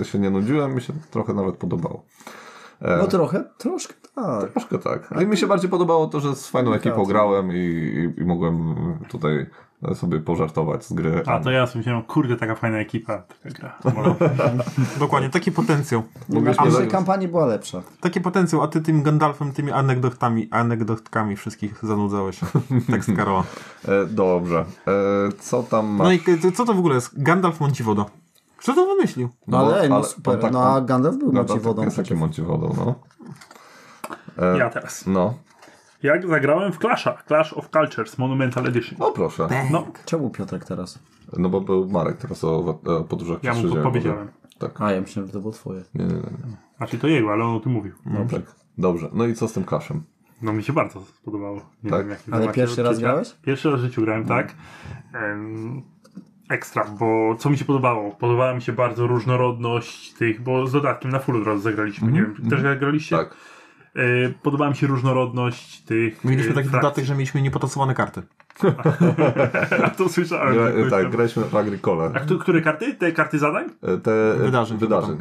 Speaker 2: e, się nie nudziłem, mi się trochę nawet podobało.
Speaker 1: No trochę, troszkę tak.
Speaker 2: Troszkę tak. A mi się bardziej podobało to, że z fajną ekipą grałem i, i, i mogłem tutaj sobie pożartować z gry.
Speaker 3: A to ja sobie myślałem, kurde, taka fajna ekipa. Taka gra. Może-
Speaker 2: (laughs)
Speaker 4: Dokładnie, taki potencjał.
Speaker 2: Mogliśmy
Speaker 1: A może
Speaker 2: zagrać.
Speaker 1: kampania była lepsza.
Speaker 4: Taki potencjał, a ty tym Gandalfem, tymi anegdotami, anegdotkami wszystkich
Speaker 3: (laughs)
Speaker 4: zanudzałeś. Tekst Karola.
Speaker 2: E, Dobrze. E, Co tam masz?
Speaker 4: No i k- co to w ogóle jest? Gandalf Mąciwodo. Kto to wymyślił?
Speaker 1: No,
Speaker 2: bo-
Speaker 1: ale, no
Speaker 2: ale
Speaker 1: super,
Speaker 2: on tak-
Speaker 1: no a
Speaker 2: on-
Speaker 1: Gandalf był
Speaker 2: no,
Speaker 1: no, wodą
Speaker 2: Jest takim
Speaker 1: przeciw.
Speaker 2: wodą, no.
Speaker 3: Ja teraz.
Speaker 2: No.
Speaker 3: Jak zagrałem w Clasha, Clash of Cultures Monumental Edition.
Speaker 2: O proszę.
Speaker 3: No,
Speaker 1: Czemu Piotrek teraz?
Speaker 2: No bo był Marek teraz o, wa- o podróżach
Speaker 3: ja
Speaker 2: po
Speaker 3: mu to
Speaker 2: Szyzie.
Speaker 3: powiedziałem.
Speaker 2: Tak.
Speaker 1: A, ja myślałem, że to było twoje.
Speaker 2: Nie, nie, nie.
Speaker 3: Znaczy to jego, ale on o tym mówił.
Speaker 2: Tak. Dobrze. No i co z tym kaszem?
Speaker 3: No mi się bardzo spodobało. Nie
Speaker 2: Tak?
Speaker 3: wiem, jakie wy
Speaker 1: Ale
Speaker 3: macie
Speaker 1: pierwszy raz
Speaker 3: odczucia.
Speaker 1: grałeś? No.
Speaker 3: Pierwszy raz w życiu grałem, tak. Em, ekstra, bo co mi się podobało? Podobała mi się bardzo różnorodność tych, bo z dodatkiem na full od razu zagraliśmy, nie wiem, też graliście?
Speaker 2: Tak.
Speaker 3: E, podobała mi się różnorodność tych
Speaker 4: Mieliśmy
Speaker 2: Yy,
Speaker 3: e,
Speaker 4: taki
Speaker 3: frakcji.
Speaker 4: dodatek, że mieliśmy niepotasowane karty.
Speaker 3: A (laughs) to słyszałem.
Speaker 2: Gra,
Speaker 3: tak,
Speaker 2: tak,
Speaker 3: tak.
Speaker 2: graliśmy w Agricole.
Speaker 3: A kto, które karty? Te karty zadań?
Speaker 2: E, Te
Speaker 4: Wydarzeń.
Speaker 2: wydarzeń.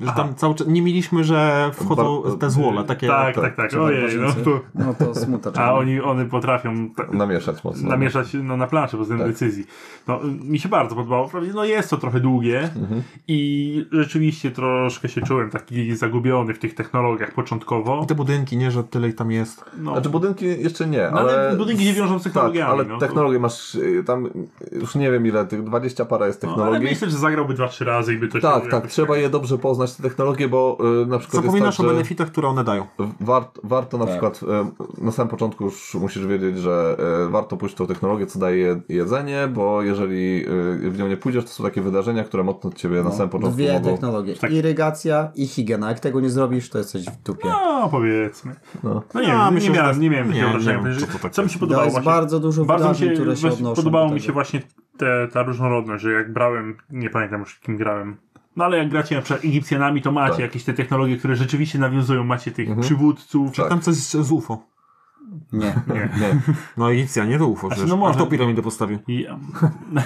Speaker 4: Że tam cały czas, nie mieliśmy, że wchodzą
Speaker 2: Bar- yy,
Speaker 4: te złole, takie...
Speaker 3: tak, tak, tak. Ojej, no to...
Speaker 1: No to smutacz.
Speaker 3: A oni, one potrafią... tak-
Speaker 2: Namieszać mocno.
Speaker 3: namieszać no, na planszę pod względem decyzji. No, y, mi się bardzo podobało. Wprawdzie, No jest to trochę długie i rzeczywiście troszkę się czułem taki zagubiony w tych technologiach początkowo.
Speaker 4: I te budynki, nie, że tyle ich tam jest.
Speaker 3: No,
Speaker 2: Znaczy budynki jeszcze nie,
Speaker 3: No,
Speaker 2: ale...
Speaker 3: ale budynki się wiążą z technologiami,
Speaker 2: Tak, ale
Speaker 3: no, to-
Speaker 2: technologie masz y, tam, y, już nie wiem ile, tych 20 para jest
Speaker 3: no, ale
Speaker 2: technologii.
Speaker 3: myślę, że zagrałby dwa, trzy razy i by to
Speaker 2: tak,
Speaker 3: się
Speaker 2: tak,
Speaker 3: jakoś-
Speaker 2: trzeba je dobrze poznać, te technologie, bo y, na przykład
Speaker 4: Zapominasz
Speaker 2: jest tak,
Speaker 4: o
Speaker 2: że...
Speaker 4: benefitach, które one dają.
Speaker 2: Wart, warto na
Speaker 1: Tak.
Speaker 2: przykład, e, na samym początku już musisz wiedzieć, że e, warto pójść w tą technologię, co daje je- jedzenie, bo jeżeli e, w nią nie pójdziesz, to są takie wydarzenia, które mocno ciebie na samym początku
Speaker 1: No. Dwie
Speaker 2: mogą...
Speaker 1: technologie.
Speaker 3: Tak.
Speaker 1: Irygacja i higiena. Jak tego nie zrobisz, to jesteś w dupie.
Speaker 3: No, powiedzmy. No, nie,
Speaker 4: Ja
Speaker 3: nie,
Speaker 4: myślę, że
Speaker 3: miałem,
Speaker 4: to-
Speaker 3: nie miałem
Speaker 4: nie,
Speaker 3: takiego
Speaker 4: nie
Speaker 3: wrażenia.
Speaker 4: wiem,
Speaker 3: że-
Speaker 4: co to
Speaker 3: co,
Speaker 4: takie
Speaker 3: mi się
Speaker 4: jest.
Speaker 3: No, podobało
Speaker 1: jest
Speaker 3: właśnie?
Speaker 1: bardzo dużo
Speaker 3: bardzo mi
Speaker 1: No, wydarzeń,
Speaker 3: się,
Speaker 1: które się
Speaker 3: właśnie
Speaker 1: odnoszą
Speaker 3: podobało
Speaker 1: do
Speaker 3: mi się
Speaker 1: tego.
Speaker 3: właśnie te, ta różnorodność, że jak brałem, nie pamiętam już kim grałem, no ale jak gracie na przykład Egipcjanami, to macie
Speaker 2: Tak.
Speaker 3: jakieś te technologie, które rzeczywiście nawiązują, macie tych przywódców,
Speaker 2: Tak.
Speaker 4: Tam coś z, z UFO.
Speaker 1: Nie.
Speaker 3: nie,
Speaker 4: No Egipcja, nie to
Speaker 2: Znaczy,
Speaker 4: UFO,
Speaker 3: no
Speaker 4: przecież.
Speaker 3: może-
Speaker 4: Aż tą piramidę postawił.
Speaker 3: I,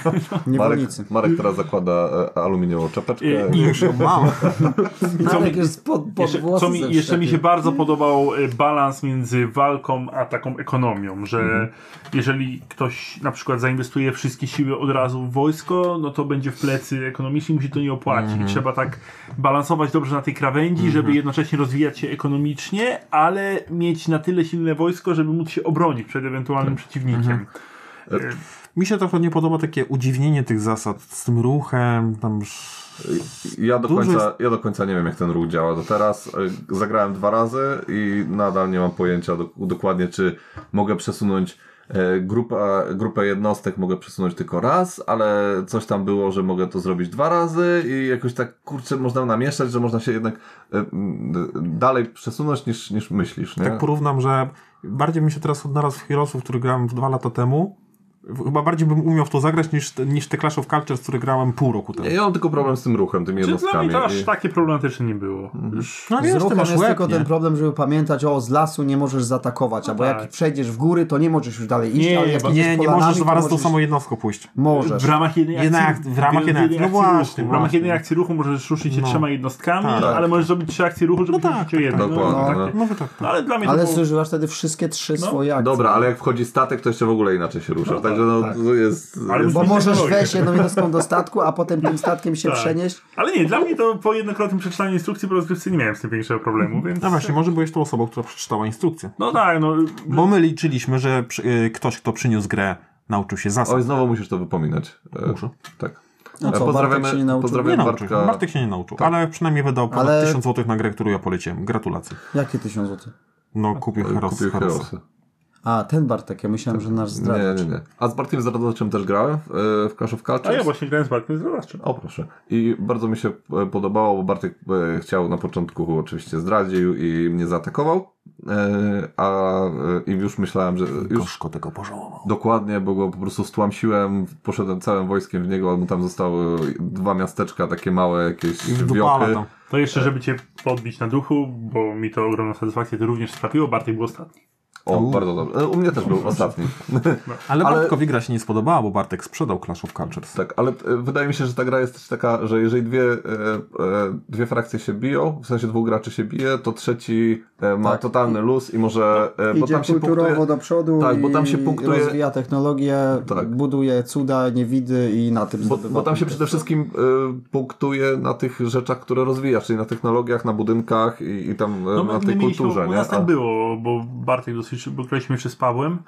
Speaker 2: Marek,
Speaker 1: Niewolnicy.
Speaker 2: Marek teraz zakłada e, aluminiową czapeczkę.
Speaker 3: I-
Speaker 4: I już ją mam.
Speaker 2: (laughs)
Speaker 1: Marek
Speaker 3: mi-
Speaker 1: jest pod, pod
Speaker 3: jeszcze,
Speaker 1: włosy
Speaker 3: co mi,
Speaker 1: ze
Speaker 3: jeszcze mi się
Speaker 1: wszczepy.
Speaker 3: bardzo podobał y, balans między walką a taką ekonomią, że jeżeli ktoś na przykład zainwestuje wszystkie siły od razu w wojsko, no to będzie w plecy ekonomicznie, mu się to nie opłaci. I trzeba tak balansować dobrze na tej krawędzi, żeby jednocześnie rozwijać się ekonomicznie, ale mieć na tyle silne wojsko, żeby móc się obronić przed ewentualnym przeciwnikiem.
Speaker 4: Mi się trochę nie podoba takie udziwnienie tych zasad z tym ruchem, tam... sz-
Speaker 2: Ja do,
Speaker 4: Dużo
Speaker 2: końca, ja do końca nie wiem, jak ten ruch działa do teraz. E, Zagrałem dwa razy i nadal nie mam pojęcia do, dokładnie, czy mogę przesunąć e, grupa, grupę jednostek, mogę przesunąć tylko raz, ale coś tam było, że mogę to zrobić dwa razy i jakoś tak, kurczę, można namieszać, że można się jednak e, m, d- dalej przesunąć niż, niż myślisz, nie?
Speaker 4: Tak porównam, że bardziej bym się teraz odnalazł w Heroesu, w który grałem dwa lata temu. W- Chyba bardziej bym umiał w to zagrać niż, te- niż te Clash of Cultures, które grałem pół roku temu.
Speaker 2: Ja mam tylko problem z tym ruchem, tymi
Speaker 3: Czy dla
Speaker 2: jednostkami.
Speaker 3: mnie to aż tak-
Speaker 2: i-
Speaker 3: takie problematyczne nie było. Już
Speaker 4: No
Speaker 1: Z
Speaker 4: wiesz, ty
Speaker 1: ruchem
Speaker 4: masz
Speaker 1: jest
Speaker 4: łeb,
Speaker 1: tylko ten
Speaker 4: nie?
Speaker 1: problem, żeby pamiętać, o z lasu nie możesz zaatakować, albo
Speaker 3: tak.
Speaker 1: jak przejdziesz w góry, to nie możesz już dalej iść,
Speaker 3: Nie,
Speaker 1: ale jak
Speaker 3: bo-
Speaker 1: idziesz
Speaker 4: Nie, nie
Speaker 1: polanami,
Speaker 4: możesz dwa
Speaker 1: to
Speaker 4: razy tą
Speaker 1: możesz-
Speaker 4: samą jednostką pójść.
Speaker 1: Możesz.
Speaker 3: W ramach jednej akcji,
Speaker 4: Jednak- w ramach jednej akcji, no
Speaker 3: akcji
Speaker 4: właśnie,
Speaker 3: ruchu. W ramach
Speaker 4: właśnie.
Speaker 3: jednej akcji ruchu możesz ruszyć się
Speaker 4: No.
Speaker 3: trzema jednostkami,
Speaker 4: Tak.
Speaker 3: ale możesz zrobić trzy akcje ruchu, żeby
Speaker 4: No tak,
Speaker 3: rzucić o
Speaker 4: tak,
Speaker 3: jedną.
Speaker 2: tak. Dokładnie, no.
Speaker 3: takie-
Speaker 4: No wy tak.
Speaker 3: no, ale dla mnie
Speaker 1: Ale
Speaker 3: to było...
Speaker 1: zużywasz wtedy wszystkie trzy
Speaker 3: No.
Speaker 1: swoje akcje.
Speaker 2: Dobra, ale jak wchodzi statek, to jeszcze w ogóle inaczej się rusza. Także no, to jest...
Speaker 3: tak. Ale
Speaker 2: jest...
Speaker 1: Bo
Speaker 3: I
Speaker 1: możesz
Speaker 3: technologię.
Speaker 1: wejść jedną jednostką do statku, a potem tym statkiem się
Speaker 3: (laughs) Tak.
Speaker 1: przenieść.
Speaker 3: Ale nie, dla mnie to po jednokrotnym przeczytaniu instrukcji po rozgrywce nie miałem z tym większego
Speaker 4: (laughs)
Speaker 3: problemu, więc...
Speaker 4: No właśnie, może byłeś tą osobą, która przeczytała instrukcję.
Speaker 3: No tak, no...
Speaker 4: Bo my liczyliśmy, że przy, y, ktoś, kto przyniósł grę, nauczył się zasad.
Speaker 2: Oj, znowu musisz to wypominać. E,
Speaker 4: Muszę.
Speaker 2: Tak.
Speaker 1: No
Speaker 2: E,
Speaker 1: co,
Speaker 2: pozdrawiamy,
Speaker 1: Bartek się nie nauczył?
Speaker 4: Nie
Speaker 2: pozdrawiamy
Speaker 4: nauczył.
Speaker 2: Bartka.
Speaker 4: Bartek się nie nauczył, Tak. ale przynajmniej wydał ponad
Speaker 1: Ale-
Speaker 4: 1000 zł na grę, którą ja poleciłem. Gratulacje.
Speaker 1: Jakie tysiąc złotych?
Speaker 4: No, kupił Heroes.
Speaker 2: Kupił
Speaker 4: Heroes.
Speaker 2: Heroesy.
Speaker 1: A, ten Bartek, ja myślałem, że nasz
Speaker 2: Nie,
Speaker 1: zdradacz.
Speaker 2: nie, nie. A z Bartkiem Zdradaczem też grałem w, e, w Clash of
Speaker 3: A
Speaker 2: Cultures.
Speaker 3: ja właśnie grałem z Bartkiem Zdrowaszczym.
Speaker 2: O proszę. I bardzo mi się e, podobało, bo Bartek e, chciał na początku oczywiście zdradził i mnie zaatakował. e, a e, i już myślałem, że już
Speaker 4: Gorzko tego pożałował.
Speaker 2: dokładnie, bo go po prostu stłamsiłem, poszedłem całym wojskiem w niego, albo tam zostały dwa miasteczka takie małe, jakieś
Speaker 4: Wdupała
Speaker 2: wiochy.
Speaker 4: tam.
Speaker 3: To jeszcze, żeby cię podbić na duchu, bo mi to ogromną satysfakcję to również sprawiło, Bartek był ostatni.
Speaker 2: O, bardzo dobrze. E, U mnie też był
Speaker 3: (laughs)
Speaker 2: ostatni.
Speaker 3: No.
Speaker 4: Ale,
Speaker 2: Ale-
Speaker 4: Bartkowi gra się nie spodobała, bo Bartek sprzedał Clash of Cultures.
Speaker 2: Tak, ale e, wydaje mi się, że ta gra jest też taka, że jeżeli dwie, e, e, dwie frakcje się biją, w sensie dwóch graczy się bije, to trzeci e, ma
Speaker 1: Tak.
Speaker 2: totalny luz i może. E,
Speaker 1: Idzie
Speaker 2: bo tam się
Speaker 1: kulturowo
Speaker 2: punktuje,
Speaker 1: do przodu
Speaker 2: Tak, bo tam się
Speaker 1: i
Speaker 2: punktuje-
Speaker 1: rozwija technologię,
Speaker 2: Tak.
Speaker 1: buduje cuda, niewidy i na tym
Speaker 2: bo,
Speaker 1: zdobywa
Speaker 2: bo tam się
Speaker 1: punkty.
Speaker 2: przede wszystkim
Speaker 1: tak.
Speaker 2: e, punktuje na tych rzeczach, które rozwijasz, czyli na technologiach, na budynkach i, i tam e, na
Speaker 3: No, my-
Speaker 2: tej
Speaker 3: my mieliśmy-
Speaker 2: kulturze.
Speaker 3: U
Speaker 2: nie?
Speaker 3: nas tak
Speaker 2: A-
Speaker 3: było, bo Bartek dosyć szybko, graliśmy jeszcze z Pawłem,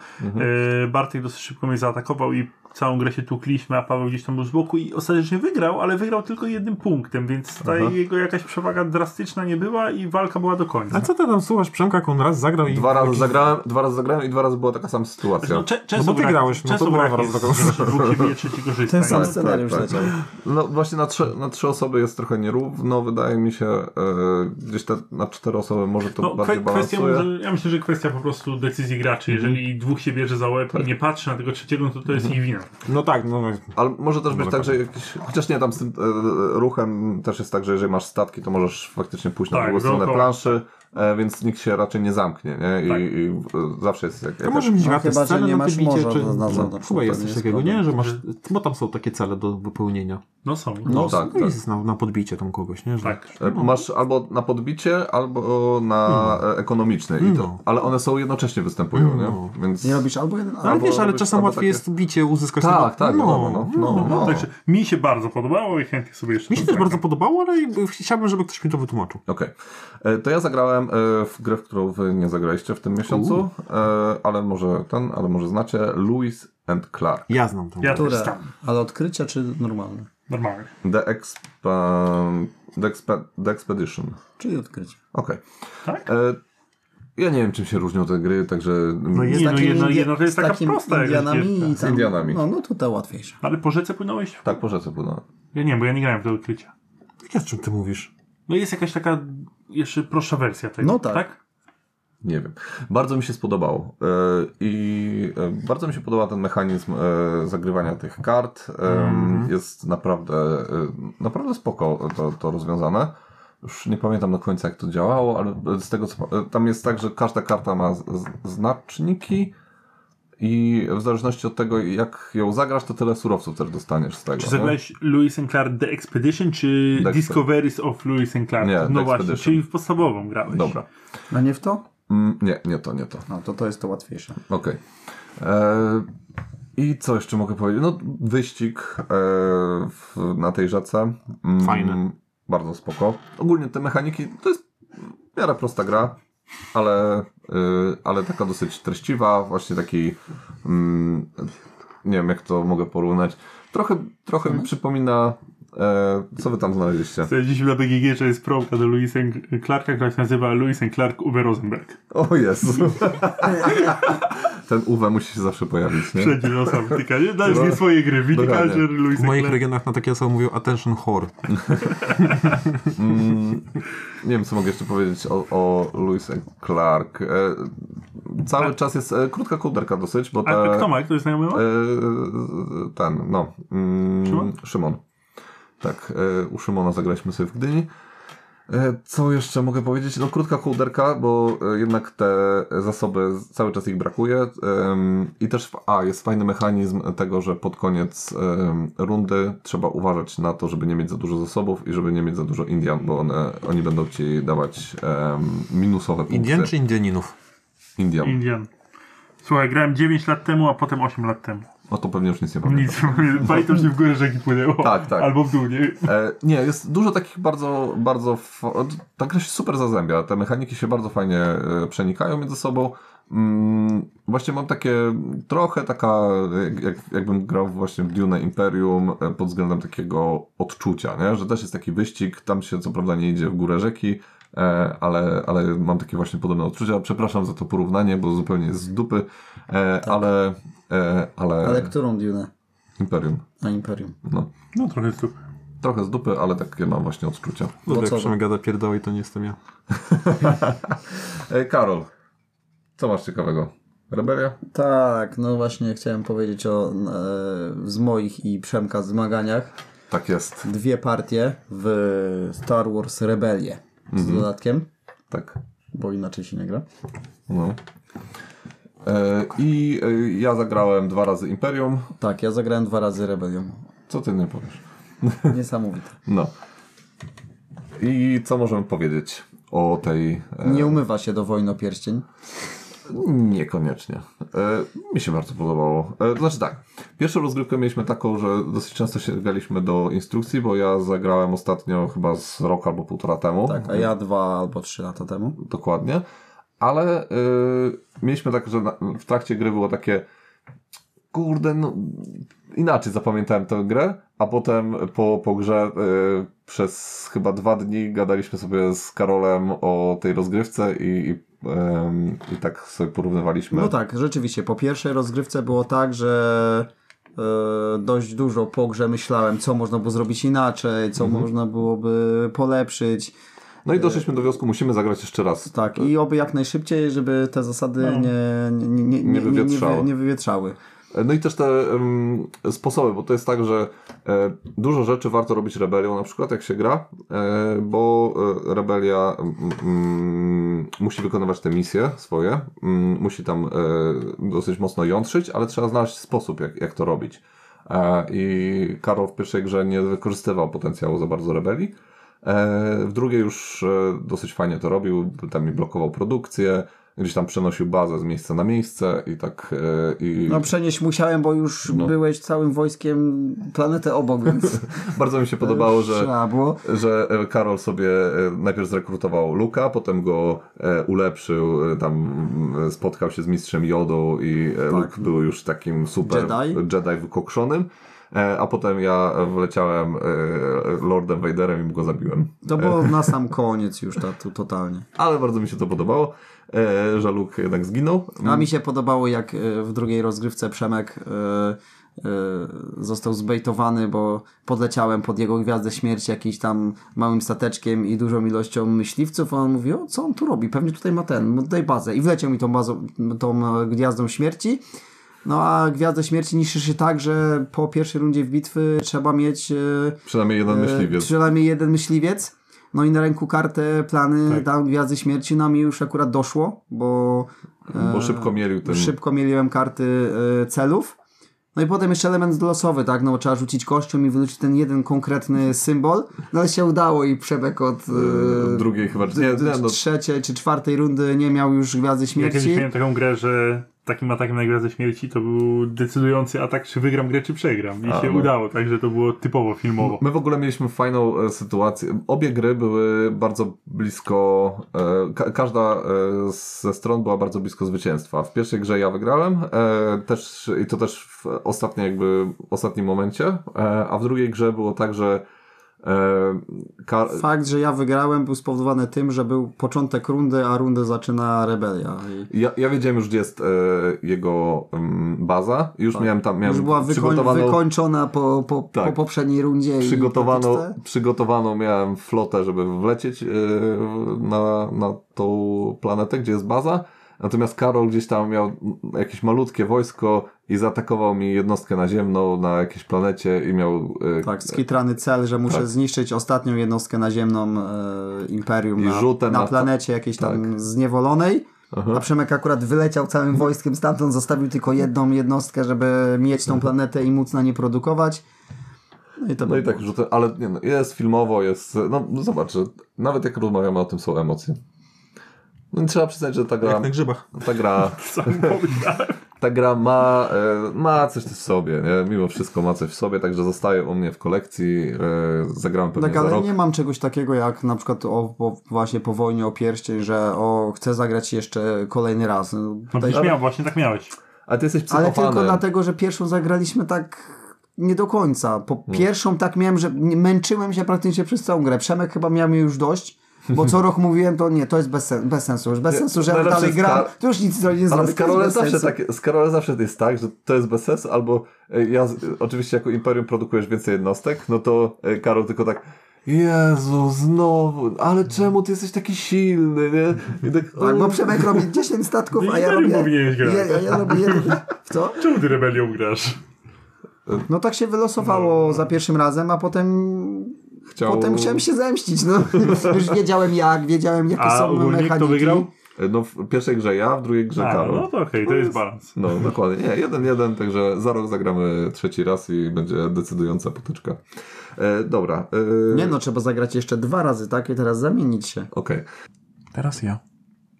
Speaker 3: e, Bartek dosyć szybko mnie zaatakował i całą grę się tukliśmy, a Paweł gdzieś tam był z boku i ostatecznie wygrał, ale wygrał tylko jednym punktem, więc ta
Speaker 2: Aha.
Speaker 3: jego jakaś przewaga drastyczna nie była i walka była do końca.
Speaker 4: A co ty tam słuchasz Przemka, jak on raz zagrał i...
Speaker 2: Dwa razy
Speaker 4: jakiś-
Speaker 2: zagrałem, dwa razy zagrałem i dwa razy była taka sama sytuacja.
Speaker 3: No, cze-
Speaker 4: bo
Speaker 3: często
Speaker 4: ty
Speaker 3: brak-
Speaker 4: grałeś, no
Speaker 3: często
Speaker 4: to była
Speaker 3: brak
Speaker 4: wraz
Speaker 3: jest,
Speaker 4: do końca.
Speaker 3: że dwóch się bije, trzeci korzysta.
Speaker 1: Ten sam
Speaker 3: nie?
Speaker 1: scenariusz
Speaker 2: tak.
Speaker 1: leciał.
Speaker 2: No właśnie na trzy, na trzy osoby jest trochę nierówno, wydaje mi się. E, gdzieś te, na cztery osoby może to
Speaker 3: No,
Speaker 2: bardziej
Speaker 3: kwe- kwestia,
Speaker 2: balansuje.
Speaker 3: może- ja myślę, że kwestia po prostu decyzji graczy. Jeżeli dwóch się bierze za łeb i nie patrzy na tego trzeciego, no to to jest ich wina.
Speaker 4: No tak, no...
Speaker 2: Ale może też być tak, że jakiś, chociaż nie, tam z tym e, ruchem też jest tak, że jeżeli masz statki, to możesz faktycznie pójść na
Speaker 3: Tak,
Speaker 2: drugą stronę
Speaker 3: dookoła.
Speaker 2: planszy, e, więc nikt się raczej nie zamknie, nie? I,
Speaker 3: Tak.
Speaker 2: i e, zawsze jest jak,
Speaker 4: To
Speaker 2: jakaś...
Speaker 4: może mieć
Speaker 1: No,
Speaker 4: na te
Speaker 1: chyba, że
Speaker 4: cele
Speaker 1: nie
Speaker 4: na
Speaker 1: masz
Speaker 4: tym bicie,
Speaker 1: morza
Speaker 4: czy... no,
Speaker 1: na zewnątrz, to
Speaker 4: Chyba
Speaker 1: to
Speaker 4: jest
Speaker 1: nie
Speaker 4: coś
Speaker 1: jest
Speaker 4: takiego,
Speaker 1: problem.
Speaker 4: nie? Że masz... Bo tam są takie cele do wypełnienia.
Speaker 3: No są. No,
Speaker 2: No tak,
Speaker 4: no
Speaker 2: tak.
Speaker 4: jest na, na podbicie tam kogoś, nie? Że... No
Speaker 3: tak.
Speaker 2: E, Masz albo na podbicie, albo na e, ekonomiczne, i to,
Speaker 4: No.
Speaker 2: ale one są jednocześnie występują,
Speaker 4: No.
Speaker 2: nie? Więc...
Speaker 1: Nie robisz albo jeden,
Speaker 4: No, ale
Speaker 1: albo...
Speaker 4: wiesz, ale
Speaker 2: robisz
Speaker 4: czasem
Speaker 2: albo
Speaker 4: łatwiej
Speaker 2: takie-
Speaker 4: jest bicie uzyskać...
Speaker 2: Tak, tak,
Speaker 4: no,
Speaker 2: wiadomo,
Speaker 4: no,
Speaker 2: no, no, no.
Speaker 3: Także mi się bardzo podobało i chętnie sobie jeszcze
Speaker 4: Mi się też
Speaker 3: zagram.
Speaker 4: bardzo podobało, ale i- chciałbym, żeby ktoś mi to wytłumaczył.
Speaker 2: Okej. E, To ja zagrałem e, w grę, w którą wy nie zagraliście w tym miesiącu, e, ale może ten, ale może znacie, Louis and Clark.
Speaker 4: Ja znam tą
Speaker 3: Ja
Speaker 4: grę.
Speaker 3: też
Speaker 1: Które?
Speaker 3: tam.
Speaker 1: Ale odkrycie czy normalne?
Speaker 3: Normalnie.
Speaker 2: The, expa, the, expe, the Expedition.
Speaker 1: Czyli odkrycie.
Speaker 2: Okej.
Speaker 3: Tak?
Speaker 2: E, Ja nie wiem, czym się różnią te gry, także... No
Speaker 3: jest- Nie, no jedna- jedna to jest taka prosta jakaś gierka.
Speaker 1: Indianami i
Speaker 2: Z
Speaker 1: tam,
Speaker 2: Indianami.
Speaker 1: No, no to te łatwiejsze.
Speaker 3: Ale po rzece płynąłeś?
Speaker 2: Tak, po rzece płyną.
Speaker 3: Ja nie wiem, bo ja nie grałem w do odkrycia.
Speaker 4: Jak ja z czym ty mówisz?
Speaker 3: No jest jakaś taka jeszcze prostsza wersja tego.
Speaker 1: No tak.
Speaker 2: Nie wiem. Bardzo mi się spodobało. E, I e, bardzo mi się podoba ten mechanizm e, zagrywania tych kart. E,
Speaker 3: Mhm.
Speaker 2: Jest naprawdę, e, naprawdę spoko to, to rozwiązane. Już nie pamiętam do końca jak to działało, ale z tego co. e, Tam jest tak, że każda karta ma z, z, znaczniki. I w zależności od tego, jak ją zagrasz, to tyle surowców też dostaniesz z tego.
Speaker 3: Czy
Speaker 2: nie?
Speaker 3: zagrałeś Louis and Clark The Expedition, czy
Speaker 2: Mhm. The Expe-
Speaker 3: Discoveries of Louis and Clark?
Speaker 2: Nie,
Speaker 3: no
Speaker 2: The
Speaker 3: właśnie,
Speaker 2: Expedition.
Speaker 3: czyli w podstawową grałeś.
Speaker 2: Dobra.
Speaker 1: A No nie w to?
Speaker 2: Mm, nie, nie to, nie to.
Speaker 1: No to to jest to łatwiejsze.
Speaker 2: Okej. E, I co jeszcze mogę powiedzieć? No, wyścig e, w, na tej rzece. Mm,
Speaker 4: Fajny.
Speaker 2: Bardzo spoko. Ogólnie te mechaniki to jest w miarę prosta gra, ale, e, ale taka dosyć treściwa, właśnie taki. Mm, nie wiem, jak to mogę porównać. Trochę, trochę mi przypomina. E, co wy tam znaleźliście?
Speaker 3: Dziś dla BGG, że jest promka do Louisa Clarka, która się nazywa Louis and Clark Uwe Rosenberg.
Speaker 2: O Jezu. Ten Uwe musi się zawsze pojawić, nie?
Speaker 3: Wszędzie losa wytyka. Nie dajesz nie swoje gry. Winnikarzer,
Speaker 4: W moich
Speaker 3: Louis and Clark. regionach...
Speaker 4: regionach na takie osoby mówią attention whore.
Speaker 2: Nie wiem, co mogę jeszcze powiedzieć o, o Louis Clark. E, cały czas jest e, krótka kołderka dosyć, bo te,
Speaker 3: A kto ma? Kto jest znajomy?
Speaker 2: e, ten, no. Mm,
Speaker 3: Szymon?
Speaker 2: Szymon. Tak, e, u Szymona zagraliśmy sobie w Gdyni. E, Co jeszcze mogę powiedzieć? No krótka kołderka, bo e, jednak te zasoby, z- cały czas ich brakuje. Em, I też, w, a, jest fajny mechanizm tego, że pod koniec em, rundy trzeba uważać na to, żeby nie mieć za dużo zasobów i żeby nie mieć za dużo Indian, bo one, oni będą ci dawać em, minusowe punkty.
Speaker 4: Indian czy Indianinów?
Speaker 2: Indian.
Speaker 3: Indian. Słuchaj, grałem 9 lat temu, a potem 8 lat temu.
Speaker 2: No to pewnie już nic nie pamiętam.
Speaker 3: Nic, (laughs) pamiętam, że w górę rzeki płynęło.
Speaker 2: Tak, tak.
Speaker 3: Albo w dół, nie?
Speaker 2: E, nie, jest dużo takich bardzo, bardzo. fa- Ta gra się super zazębia. Te mechaniki się bardzo fajnie e, przenikają między sobą. Mm, właśnie mam takie trochę taka, jak, jak, jakbym grał właśnie w Dune Imperium e, pod względem takiego odczucia, nie? że też jest taki wyścig, tam się co prawda nie idzie w górę rzeki, e, ale, ale mam takie właśnie podobne odczucia. Przepraszam za to porównanie, bo zupełnie jest z dupy, e, ale, e, ale,
Speaker 1: Ale którą Dune?
Speaker 2: Imperium.
Speaker 1: A Imperium.
Speaker 2: No.
Speaker 3: No trochę super.
Speaker 2: Trochę z dupy, ale takie mam właśnie odczucia.
Speaker 4: No
Speaker 1: Bo
Speaker 4: jak
Speaker 1: co?
Speaker 4: Przemek gada pierdoły, to nie jestem ja.
Speaker 2: E, Karol, Co masz ciekawego? Rebelia?
Speaker 1: Tak, no właśnie chciałem powiedzieć o e, z moich i Przemka zmaganiach.
Speaker 2: Tak jest.
Speaker 1: Dwie partie w Star Wars Rebelie z dodatkiem,
Speaker 2: Tak.
Speaker 1: bo inaczej się nie gra.
Speaker 2: No. E, I e, ja zagrałem dwa razy Imperium.
Speaker 1: Tak, ja zagrałem dwa razy Rebelią.
Speaker 2: Co ty nie powiesz?
Speaker 1: Niesamowite.
Speaker 2: No. I co możemy powiedzieć o tej. E,
Speaker 1: Nie umywa się do wojno pierścień.
Speaker 2: Niekoniecznie. E, mi się bardzo podobało. E, to znaczy tak, pierwszą rozgrywkę mieliśmy taką, że dosyć często sięgaliśmy do instrukcji, bo ja zagrałem ostatnio chyba z rok albo półtora temu.
Speaker 1: Tak, a ja dwa albo trzy lata temu.
Speaker 2: Dokładnie. Ale y, mieliśmy tak, że na, w trakcie gry było takie kurde, no inaczej zapamiętałem tę grę, a potem po, po grze y, przez chyba dwa dni gadaliśmy sobie z Karolem o tej rozgrywce i, i, em, i tak sobie porównywaliśmy.
Speaker 1: No tak, rzeczywiście. Po pierwszej rozgrywce było tak, że e, dość dużo po grze myślałem, co można było zrobić inaczej, co można byłoby polepszyć.
Speaker 2: No i doszliśmy do wniosku, musimy zagrać jeszcze raz.
Speaker 1: Tak, i oby jak najszybciej, żeby te zasady nie, nie, nie, nie, nie, nie, nie,
Speaker 2: wywietrzały.
Speaker 1: wy- nie wywietrzały.
Speaker 2: No i też te em, sposoby, bo to jest tak, że e, dużo rzeczy warto robić rebelią, na przykład jak się gra, e, bo e, rebelia mm, mm, musi wykonywać te misje swoje, mm, musi tam e, dosyć mocno jątrzyć, ale trzeba znaleźć sposób, jak, jak to robić. E, I Karol w pierwszej grze nie wykorzystywał potencjału za bardzo rebelii. E, W drugiej już e, dosyć fajnie to robił, tam mi blokował produkcję, gdzieś tam przenosił bazę z miejsca na miejsce i tak. e, I...
Speaker 1: No przenieść musiałem, bo już
Speaker 2: No.
Speaker 1: byłeś całym wojskiem planetę obok, więc
Speaker 2: (laughs) Bardzo mi się podobało, że,
Speaker 1: trzeba było.
Speaker 2: że e, Karol sobie e, najpierw zrekrutował Luka, potem go e, ulepszył, e, tam mm, spotkał się z mistrzem Jodą i tak. Luke był już takim super
Speaker 1: Jedi.
Speaker 2: Jedi wykokszonym. E, A potem ja wleciałem e, Lordem Vaderem i go zabiłem.
Speaker 1: To
Speaker 2: e.
Speaker 1: było na sam koniec już ta, tu, totalnie.
Speaker 2: Ale bardzo mi się to podobało, e, że Luke jednak zginął.
Speaker 1: A mi się podobało, jak e, w drugiej rozgrywce Przemek e, e, został zbejtowany, bo podleciałem pod jego gwiazdę śmierci jakimś tam małym stateczkiem i dużą ilością myśliwców, a on mówi, o co on tu robi? Pewnie tutaj ma ten, ma tutaj bazę. I wleciał mi tą, bazą, tą e, gwiazdą śmierci. No a gwiazda śmierci niszczy się tak, że po pierwszej rundzie w bitwy trzeba mieć e,
Speaker 2: Przynajmniej jeden
Speaker 1: E,
Speaker 2: myśliwiec.
Speaker 1: Przynajmniej jeden myśliwiec. No i na ręku kartę plany tam Gwiazdy Śmierci na mnie już akurat doszło, bo,
Speaker 2: Bo szybko mielił ten...
Speaker 1: szybko mieliłem karty e, celów. No i potem jeszcze element losowy, tak? No bo trzeba rzucić kością i wyrzucić ten jeden konkretny symbol. No ale się udało i Przemek od
Speaker 2: e,
Speaker 1: e,
Speaker 2: Drugiej chyba... Nie, nie, no,
Speaker 1: trzeciej czy czwartej rundy nie miał już Gwiazdy
Speaker 3: Ja
Speaker 1: Śmierci.
Speaker 3: kiedyś miałem taką grę, że takim atakiem na Gwiazdę Śmierci to był decydujący atak, czy wygram grę, czy przegram. I
Speaker 2: A,
Speaker 3: się
Speaker 2: no.
Speaker 3: udało, także to było typowo filmowo.
Speaker 2: My w ogóle mieliśmy fajną e, sytuację. Obie gry były bardzo blisko, e, ka każda e, ze stron była bardzo blisko zwycięstwa. W pierwszej grze ja wygrałem, e, też, i to też w ostatniej jakby, ostatnim momencie, e, a w drugiej grze było tak, że e, Kar-
Speaker 1: Fakt, że ja wygrałem był spowodowany tym, że był początek rundy, a rundę zaczyna rebelia. I...
Speaker 2: ja, ja wiedziałem już, gdzie jest e, jego mm, baza. Już miałem tam, miałem
Speaker 1: Tak. Już była wykoń,
Speaker 2: przygotowaną...
Speaker 1: wykończona po, po,
Speaker 2: Tak.
Speaker 1: po poprzedniej rundzie. i
Speaker 2: Przygotowano,
Speaker 1: po piczce.
Speaker 2: przygotowano miałem flotę, żeby wlecieć yy, na, na tą planetę, gdzie jest baza. Natomiast Karol gdzieś tam miał mm, jakieś malutkie wojsko i zaatakował mi jednostkę naziemną na jakiejś planecie i miał. Yy,
Speaker 1: Tak, skitrany cel, że muszę
Speaker 2: Tak.
Speaker 1: zniszczyć ostatnią jednostkę naziemną e, Imperium
Speaker 2: I
Speaker 1: na,
Speaker 2: rzutem
Speaker 1: na
Speaker 2: na-
Speaker 1: planecie jakiejś tam
Speaker 2: tak.
Speaker 1: zniewolonej. A Przemek akurat wyleciał całym wojskiem stamtąd, zostawił tylko jedną jednostkę, żeby mieć tą planetę i móc na nie produkować. No i to
Speaker 2: no i tak, że to, ale nie, no, jest filmowo, jest. No zobacz, że nawet jak rozmawiamy o tym, są emocje. No, i trzeba przyznać, że ta gra.
Speaker 4: Jak na grzybach.
Speaker 2: No, Ta gra.
Speaker 3: Sam pomyślałem.
Speaker 2: ta gra ma, e, ma coś w sobie, nie? mimo wszystko ma coś w sobie, także zostaje u mnie w kolekcji, e, zagram pewnie
Speaker 1: Tak,
Speaker 2: za
Speaker 1: ale
Speaker 2: rok.
Speaker 1: nie mam czegoś takiego jak na przykład o, o, właśnie po wojnie o pierścień, że o, chcę zagrać jeszcze kolejny raz. No,
Speaker 3: No
Speaker 1: tutaj-
Speaker 3: przecież miał, właśnie tak miałeś.
Speaker 2: A ty jesteś
Speaker 1: Ale
Speaker 2: psychofanem.
Speaker 1: tylko dlatego, że pierwszą zagraliśmy tak nie do końca. Po
Speaker 2: No.
Speaker 1: pierwszą tak miałem, że nie- męczyłem się praktycznie przez całą grę. Przemek chyba miał mnie już dość, bo co rok mówiłem, to nie, to jest bez, sen- bez sensu. Już bez
Speaker 2: Nie,
Speaker 1: sensu, że ja
Speaker 2: najlepsze
Speaker 1: dalej
Speaker 2: jest
Speaker 1: gram,
Speaker 2: ta-
Speaker 1: to już nic nie zrobię.
Speaker 2: Ale z
Speaker 1: to jest
Speaker 2: Karolem,
Speaker 1: bez
Speaker 2: zawsze
Speaker 1: sensu.
Speaker 2: tak, z Karolem zawsze jest tak, że to jest bez sensu, albo e, ja, z- oczywiście jako Imperium produkujesz więcej jednostek, no to e, Karol tylko tak, Jezu, znowu, ale czemu ty jesteś taki silny, nie? I tak,
Speaker 1: Tak, bo
Speaker 2: o,
Speaker 1: Przemek robi 10 statków, a ja
Speaker 3: Imperium
Speaker 1: robię...
Speaker 3: No powinieneś grać.
Speaker 1: Ja, ja robię jeden... W co?
Speaker 3: Czemu ty rebelią grasz?
Speaker 1: No tak się
Speaker 2: No,
Speaker 1: wylosowało za pierwszym razem, a potem...
Speaker 2: chciał-
Speaker 1: Potem chciałem się zemścić, no. (laughs) Już wiedziałem jak, wiedziałem jakie
Speaker 3: A
Speaker 1: są
Speaker 3: ogólnie
Speaker 1: mechaniki.
Speaker 3: kto wygrał?
Speaker 2: No w pierwszej grze ja, w drugiej grze
Speaker 3: A,
Speaker 2: Karol.
Speaker 3: no to okej, to jest balans.
Speaker 2: No
Speaker 4: Mhm.
Speaker 2: dokładnie, nie, jeden, jeden, także za rok zagramy trzeci raz i będzie decydująca potyczka. E, dobra. E,
Speaker 1: Nie no, trzeba zagrać jeszcze dwa razy, tak? I teraz zamienić się.
Speaker 2: Okej.
Speaker 4: Teraz ja.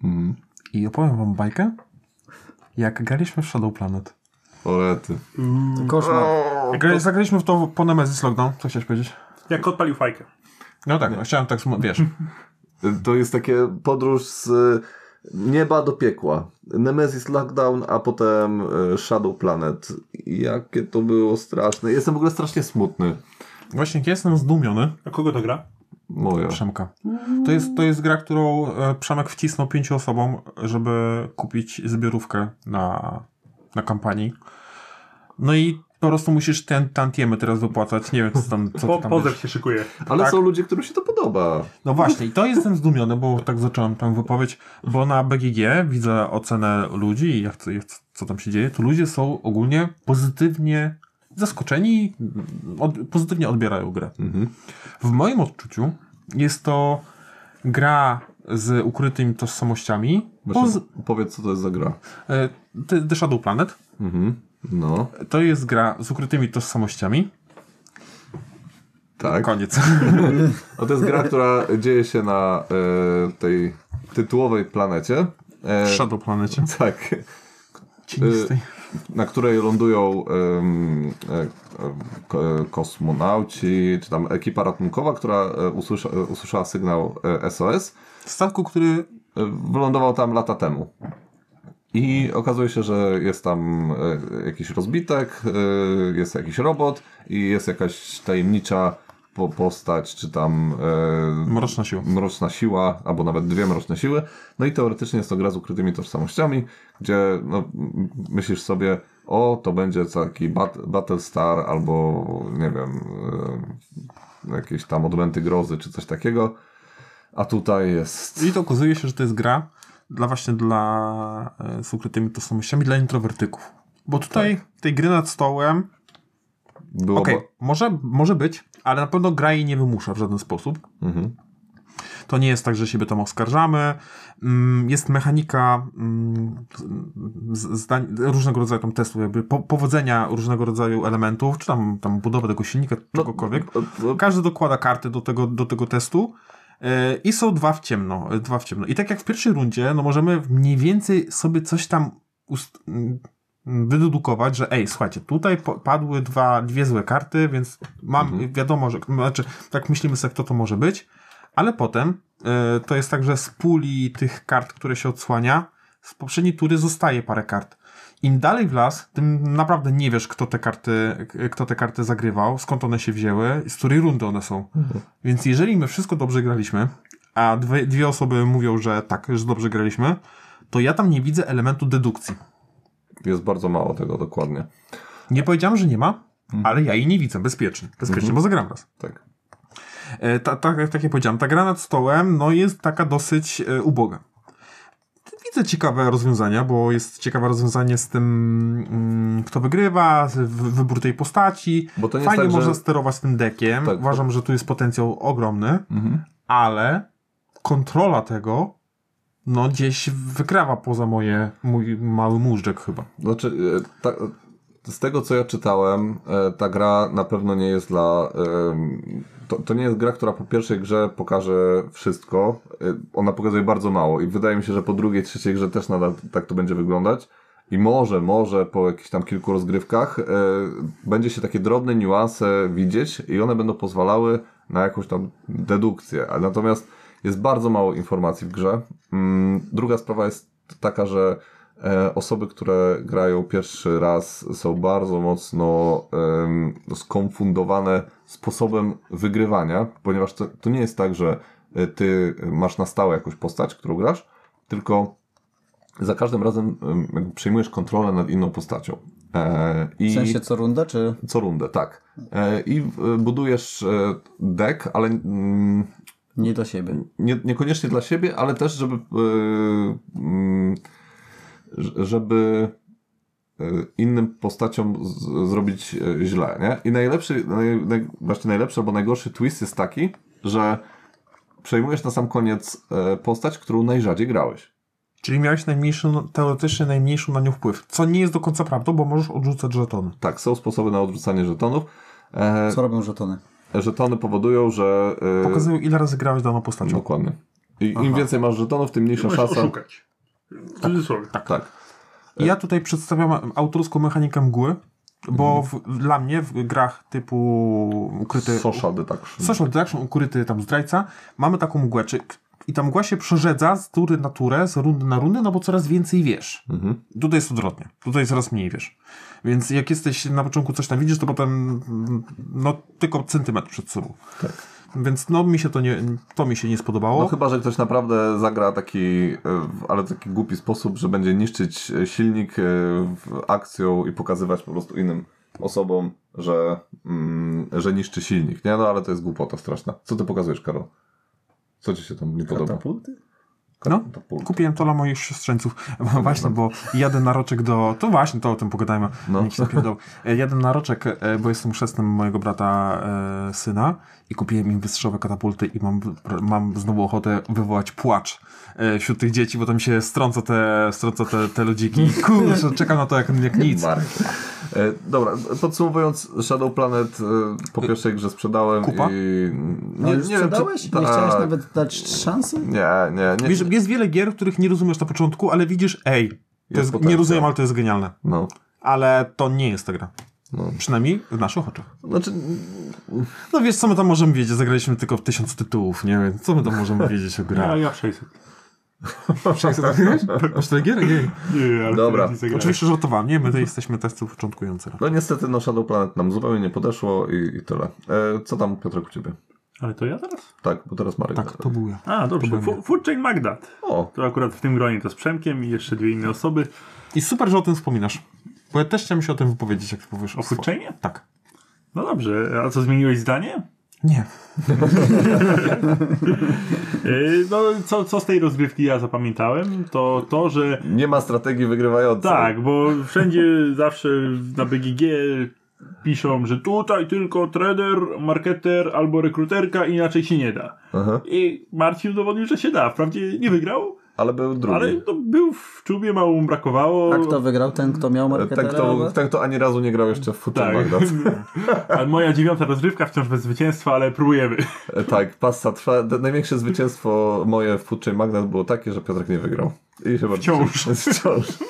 Speaker 4: Mhm.
Speaker 2: Mm.
Speaker 4: I opowiem wam bajkę, jak graliśmy w Shadow Planet.
Speaker 2: Orety.
Speaker 1: Koszmar.
Speaker 4: Gra, zagraliśmy w to po Nemesis Lockdown, co chciałeś powiedzieć?
Speaker 3: Jak odpalił fajkę.
Speaker 4: No tak, no, chciałem tak, smu- (laughs) wiesz.
Speaker 2: To jest takie podróż z e, nieba do piekła. Nemesis Lockdown, a potem e, Shadow Planet. Jakie to było straszne. Jestem w ogóle strasznie smutny.
Speaker 4: Właśnie jak jestem zdumiony.
Speaker 3: A kogo to gra?
Speaker 2: Moja.
Speaker 4: Przemka. To jest, to jest gra, którą e, Przemek wcisnął pięciu osobom, żeby kupić zbiorówkę na, na kampanii. No i po prostu musisz ten tantiemy teraz wypłacać. Nie wiem, co tam, co
Speaker 3: Po,
Speaker 4: tam
Speaker 3: pozew
Speaker 4: wiesz.
Speaker 3: się szykuje.
Speaker 2: Ale
Speaker 4: Tak.
Speaker 2: są ludzie, którym się to podoba.
Speaker 4: No właśnie, i to jestem zdumiony, bo tak zacząłem tam wypowiedź, bo na BGG widzę ocenę ludzi i jak, jak, co tam się dzieje, to ludzie są ogólnie pozytywnie zaskoczeni, od, pozytywnie odbierają grę.
Speaker 2: Mhm.
Speaker 4: W moim odczuciu jest to gra z ukrytymi tożsamościami.
Speaker 2: Właśnie,
Speaker 4: Poz,
Speaker 2: Powiedz, co to jest za gra.
Speaker 4: e, The- The Shadow Planet.
Speaker 2: Mhm. No,
Speaker 4: To jest gra z ukrytymi tożsamościami.
Speaker 2: tak.
Speaker 4: Koniec.
Speaker 2: A to jest gra, która dzieje się na e, tej tytułowej planecie. E,
Speaker 4: (laughs) Shadow Planecie.
Speaker 2: tak.
Speaker 4: Cienistej.
Speaker 2: Na której lądują em, e, k- kosmonauci, czy tam ekipa ratunkowa, która e, usłysza, e, usłyszała sygnał e, SOS.
Speaker 4: Statku, który
Speaker 2: E, Wylądował tam lata temu. I okazuje się, że jest tam e, jakiś rozbitek, e, jest jakiś robot i jest jakaś tajemnicza po- postać, czy tam e,
Speaker 4: mroczna siła.
Speaker 2: mroczna siła, albo nawet dwie mroczne siły. No i teoretycznie jest to gra z ukrytymi tożsamościami, gdzie no, m- myślisz sobie, o, to będzie taki bat Battlestar albo, nie wiem, e, jakieś tam odmęty grozy czy coś takiego. A tutaj jest...
Speaker 4: I to okazuje się, że to jest gra dla właśnie dla e, z ukrytymi tożsamościami dla introwertyków. Bo tutaj tej gry nad stołem
Speaker 2: Było
Speaker 4: Okej, może, może być, ale na pewno gra jej nie wymusza w żaden sposób.
Speaker 2: Mhm.
Speaker 4: To nie jest tak, że siebie tam oskarżamy. Mm, Jest mechanika mm, z- zdań, różnego rodzaju tam testów, jakby po, powodzenia różnego rodzaju elementów, czy tam, tam budowa tego silnika, czegokolwiek.
Speaker 2: bo-
Speaker 4: Każdy dokłada karty do tego, do tego testu. e, I są dwa w ciemno, e, dwa w ciemno. I tak jak w pierwszej rundzie, no możemy mniej więcej sobie coś tam ust- m, m, wydedukować, że ej, słuchajcie, tutaj po- padły dwa, dwie złe karty, więc mam, wiadomo, że, znaczy, tak myślimy sobie, kto to może być, ale potem e, to jest tak, że z puli tych kart, które się odsłania, z poprzedniej tury zostaje parę kart. Im dalej w las, tym naprawdę nie wiesz, kto te karty, k- kto te karty zagrywał, skąd one się wzięły, z której rundy one są. Więc jeżeli my wszystko dobrze graliśmy, a dwie, dwie osoby mówią, że tak, że dobrze graliśmy, to ja tam nie widzę elementu dedukcji.
Speaker 2: Jest bardzo mało tego dokładnie.
Speaker 4: Nie powiedziałem, że nie ma, ale ja jej nie widzę, bezpiecznie. Bezpiecznie, bo zagram raz.
Speaker 2: Tak.
Speaker 4: E, ta, ta, jak- tak jak powiedziałem, ta gra nad stołem no, jest taka dosyć e, uboga. Widzę ciekawe rozwiązania, bo jest ciekawe rozwiązanie z tym, mm, kto wygrywa, z- w- wybór tej postaci.
Speaker 2: Bo to nie
Speaker 4: Fajnie
Speaker 2: jest tak,
Speaker 4: można
Speaker 2: że...
Speaker 4: sterować tym dekiem.
Speaker 2: Tak,
Speaker 4: Uważam, że tu jest potencjał ogromny,
Speaker 2: Mhm.
Speaker 4: ale kontrola tego no gdzieś wykrawa poza moje, mój mały móżdżek chyba.
Speaker 2: Znaczy, e, ta, z tego co ja czytałem, e, ta gra na pewno nie jest dla. em, To, to nie jest gra, która po pierwszej grze pokaże wszystko. E, Ona pokazuje bardzo mało i wydaje mi się, że po drugiej, trzeciej grze też nadal tak to będzie wyglądać. I może, może po jakichś tam kilku rozgrywkach e, będzie się takie drobne niuanse widzieć i one będą pozwalały na jakąś tam dedukcję. A Natomiast jest bardzo mało informacji w grze. Mm, Druga sprawa jest taka, że E, Osoby, które grają pierwszy raz, są bardzo mocno em, skonfundowane sposobem wygrywania, ponieważ to, to nie jest tak, że e, ty masz na stałe jakąś postać, którą grasz, tylko za każdym razem em, jakby przejmujesz kontrolę nad inną postacią. E, I
Speaker 1: W sensie co runda, czy...
Speaker 2: co rundę, tak. E, I e, budujesz e, deck, ale mm,
Speaker 1: Nie do siebie.
Speaker 2: nie, niekoniecznie dla siebie, ale też, żeby e, mm, ż- żeby e, innym postaciom z, zrobić e, źle, nie? I najlepszy, naj, naj, właśnie najlepszy albo najgorszy twist jest taki, że przejmujesz na sam koniec e, postać, którą najrzadziej grałeś.
Speaker 4: Czyli miałeś najmniejszy, teoretycznie najmniejszy na nią wpływ. Co nie jest do końca prawdą, bo możesz odrzucać żetony.
Speaker 2: Tak, są sposoby na odrzucanie żetonów. E,
Speaker 1: Co robią żetony?
Speaker 2: żetony powodują, że... e,
Speaker 4: Pokazują, ile razy grałeś daną postacią.
Speaker 2: Dokładnie. I im więcej masz żetonów, tym mniejsza
Speaker 3: Możesz
Speaker 2: szansa.
Speaker 3: oszukać. W cudzysłowie.
Speaker 2: Tak. tak.
Speaker 4: Ja tutaj przedstawiam autorską mechanikę mgły, bo
Speaker 2: Mhm.
Speaker 4: w, dla mnie w grach typu ukryty...
Speaker 2: Social deduction.
Speaker 4: Social Deduction, ukryty tam zdrajca, mamy taką mgłę, czy, i ta mgła się przerzedza z tury na turę, z rundy na rundę, no bo coraz więcej wiesz.
Speaker 2: Mhm.
Speaker 4: Tutaj jest odwrotnie, tutaj coraz mniej wiesz. Więc jak jesteś na początku coś tam widzisz, to potem mm, no tylko centymetr przed sobą. Więc no mi się to nie, to mi się nie spodobało.
Speaker 2: Tak. No chyba, że ktoś naprawdę zagra taki, e, w- ale taki głupi sposób, że będzie niszczyć e, silnik e, w- akcją i pokazywać po prostu innym osobom, że, mm, że niszczy silnik. Nie, no ale to jest głupota straszna. Co ty pokazujesz, Karol? Co ci się tam nie podoba?
Speaker 4: No,
Speaker 2: Katapult.
Speaker 4: kupiłem to dla moich siostrzeńców. (laughs) właśnie, bo jadę na roczek do... To właśnie, to o tym pogadajmy.
Speaker 2: No.
Speaker 4: Niech się napierdol. E, Jadę na roczek, e, bo jestem chrzestnym mojego brata e, syna i kupiłem im wystrzałowe katapulty i mam, mam znowu ochotę wywołać płacz e, wśród tych dzieci, bo tam się strąca te, strąca te, te ludziki.
Speaker 2: (laughs)
Speaker 4: Kurczę, czekam na to jak, jak nic.
Speaker 2: Marek. E, dobra, podsumowując, Shadow Planet e, po pierwszej grze sprzedałem
Speaker 4: Kupa?
Speaker 2: i...
Speaker 1: Y, No nie, już
Speaker 2: wiem, czy-
Speaker 1: sprzedałeś? Nie
Speaker 2: Tak.
Speaker 1: chciałeś nawet dać szansy?
Speaker 2: Nie, nie, nie.
Speaker 4: Wiesz, jest wiele gier, których nie rozumiesz na początku, ale widzisz, ej, to
Speaker 2: Jest
Speaker 4: jest, nie
Speaker 2: potencjał.
Speaker 4: rozumiem, ale to jest genialne.
Speaker 2: No.
Speaker 4: Ale to nie jest ta gra.
Speaker 2: No.
Speaker 4: Przynajmniej w naszych oczach.
Speaker 2: (laughs)
Speaker 1: (laughs)
Speaker 2: Znaczy,
Speaker 4: No wiesz, co my tam możemy wiedzieć? Zagraliśmy tylko tysiąc tytułów, nie wiem. Co my tam możemy wiedzieć o
Speaker 3: Ja, (laughs)
Speaker 4: grach?
Speaker 3: ja w 600.
Speaker 4: Wszak sobie tak Masz tyle gier? Nie.
Speaker 3: Nie, ale
Speaker 2: Dobra.
Speaker 3: wtedy nie zagrałem.
Speaker 4: Oczywiście żartowałem, nie? My tutaj jesteśmy testów początkujący.
Speaker 2: no niestety no Shadow Planet nam zupełnie nie podeszło i, i tyle. E, co tam Piotrek u Ciebie?
Speaker 3: Ale to ja teraz?
Speaker 2: Tak, bo teraz Marek.
Speaker 4: Tak, to był ja.
Speaker 3: A, dobrze.
Speaker 4: byłem
Speaker 3: Fu- Food Chain Magdat.
Speaker 2: O,
Speaker 3: To akurat w tym gronie to z Przemkiem i jeszcze dwie inne osoby.
Speaker 4: I super, że o tym wspominasz. Bo ja też chciałem się o tym wypowiedzieć, jak ty powiesz.
Speaker 3: O Food Chainie?
Speaker 4: Tak.
Speaker 3: No dobrze. A co, zmieniłeś zdanie?
Speaker 4: Nie.
Speaker 3: Yy, No, co, co z tej rozgrywki ja zapamiętałem, to to, że
Speaker 2: nie ma strategii wygrywającej.
Speaker 3: tak, bo wszędzie zawsze na BGG piszą, że tutaj tylko trader, marketer albo rekruterka, inaczej się nie da.
Speaker 2: Aha,
Speaker 3: I Marcin udowodnił, że się da. Wprawdzie nie wygrał,
Speaker 2: ale był drugi. E,
Speaker 3: ale to był w czubie, mało mu brakowało.
Speaker 1: A kto Tak wygrał? Ten, kto miał
Speaker 2: E,
Speaker 1: marketera?
Speaker 2: Ten kto,
Speaker 1: albo-
Speaker 2: ten, kto ani razu nie grał jeszcze w Future
Speaker 3: Tak.
Speaker 4: (laughs)
Speaker 2: Magnet.
Speaker 3: (laughs) A moja dziewiąta rozgrywka wciąż bez zwycięstwa, ale próbujemy.
Speaker 2: E, Tak, passa trwa. D- Największe zwycięstwo moje w Future Magnet było takie, że Piotrek nie wygrał. I się bardzo-
Speaker 3: Wciąż.
Speaker 2: Wciąż.
Speaker 4: (laughs) Mi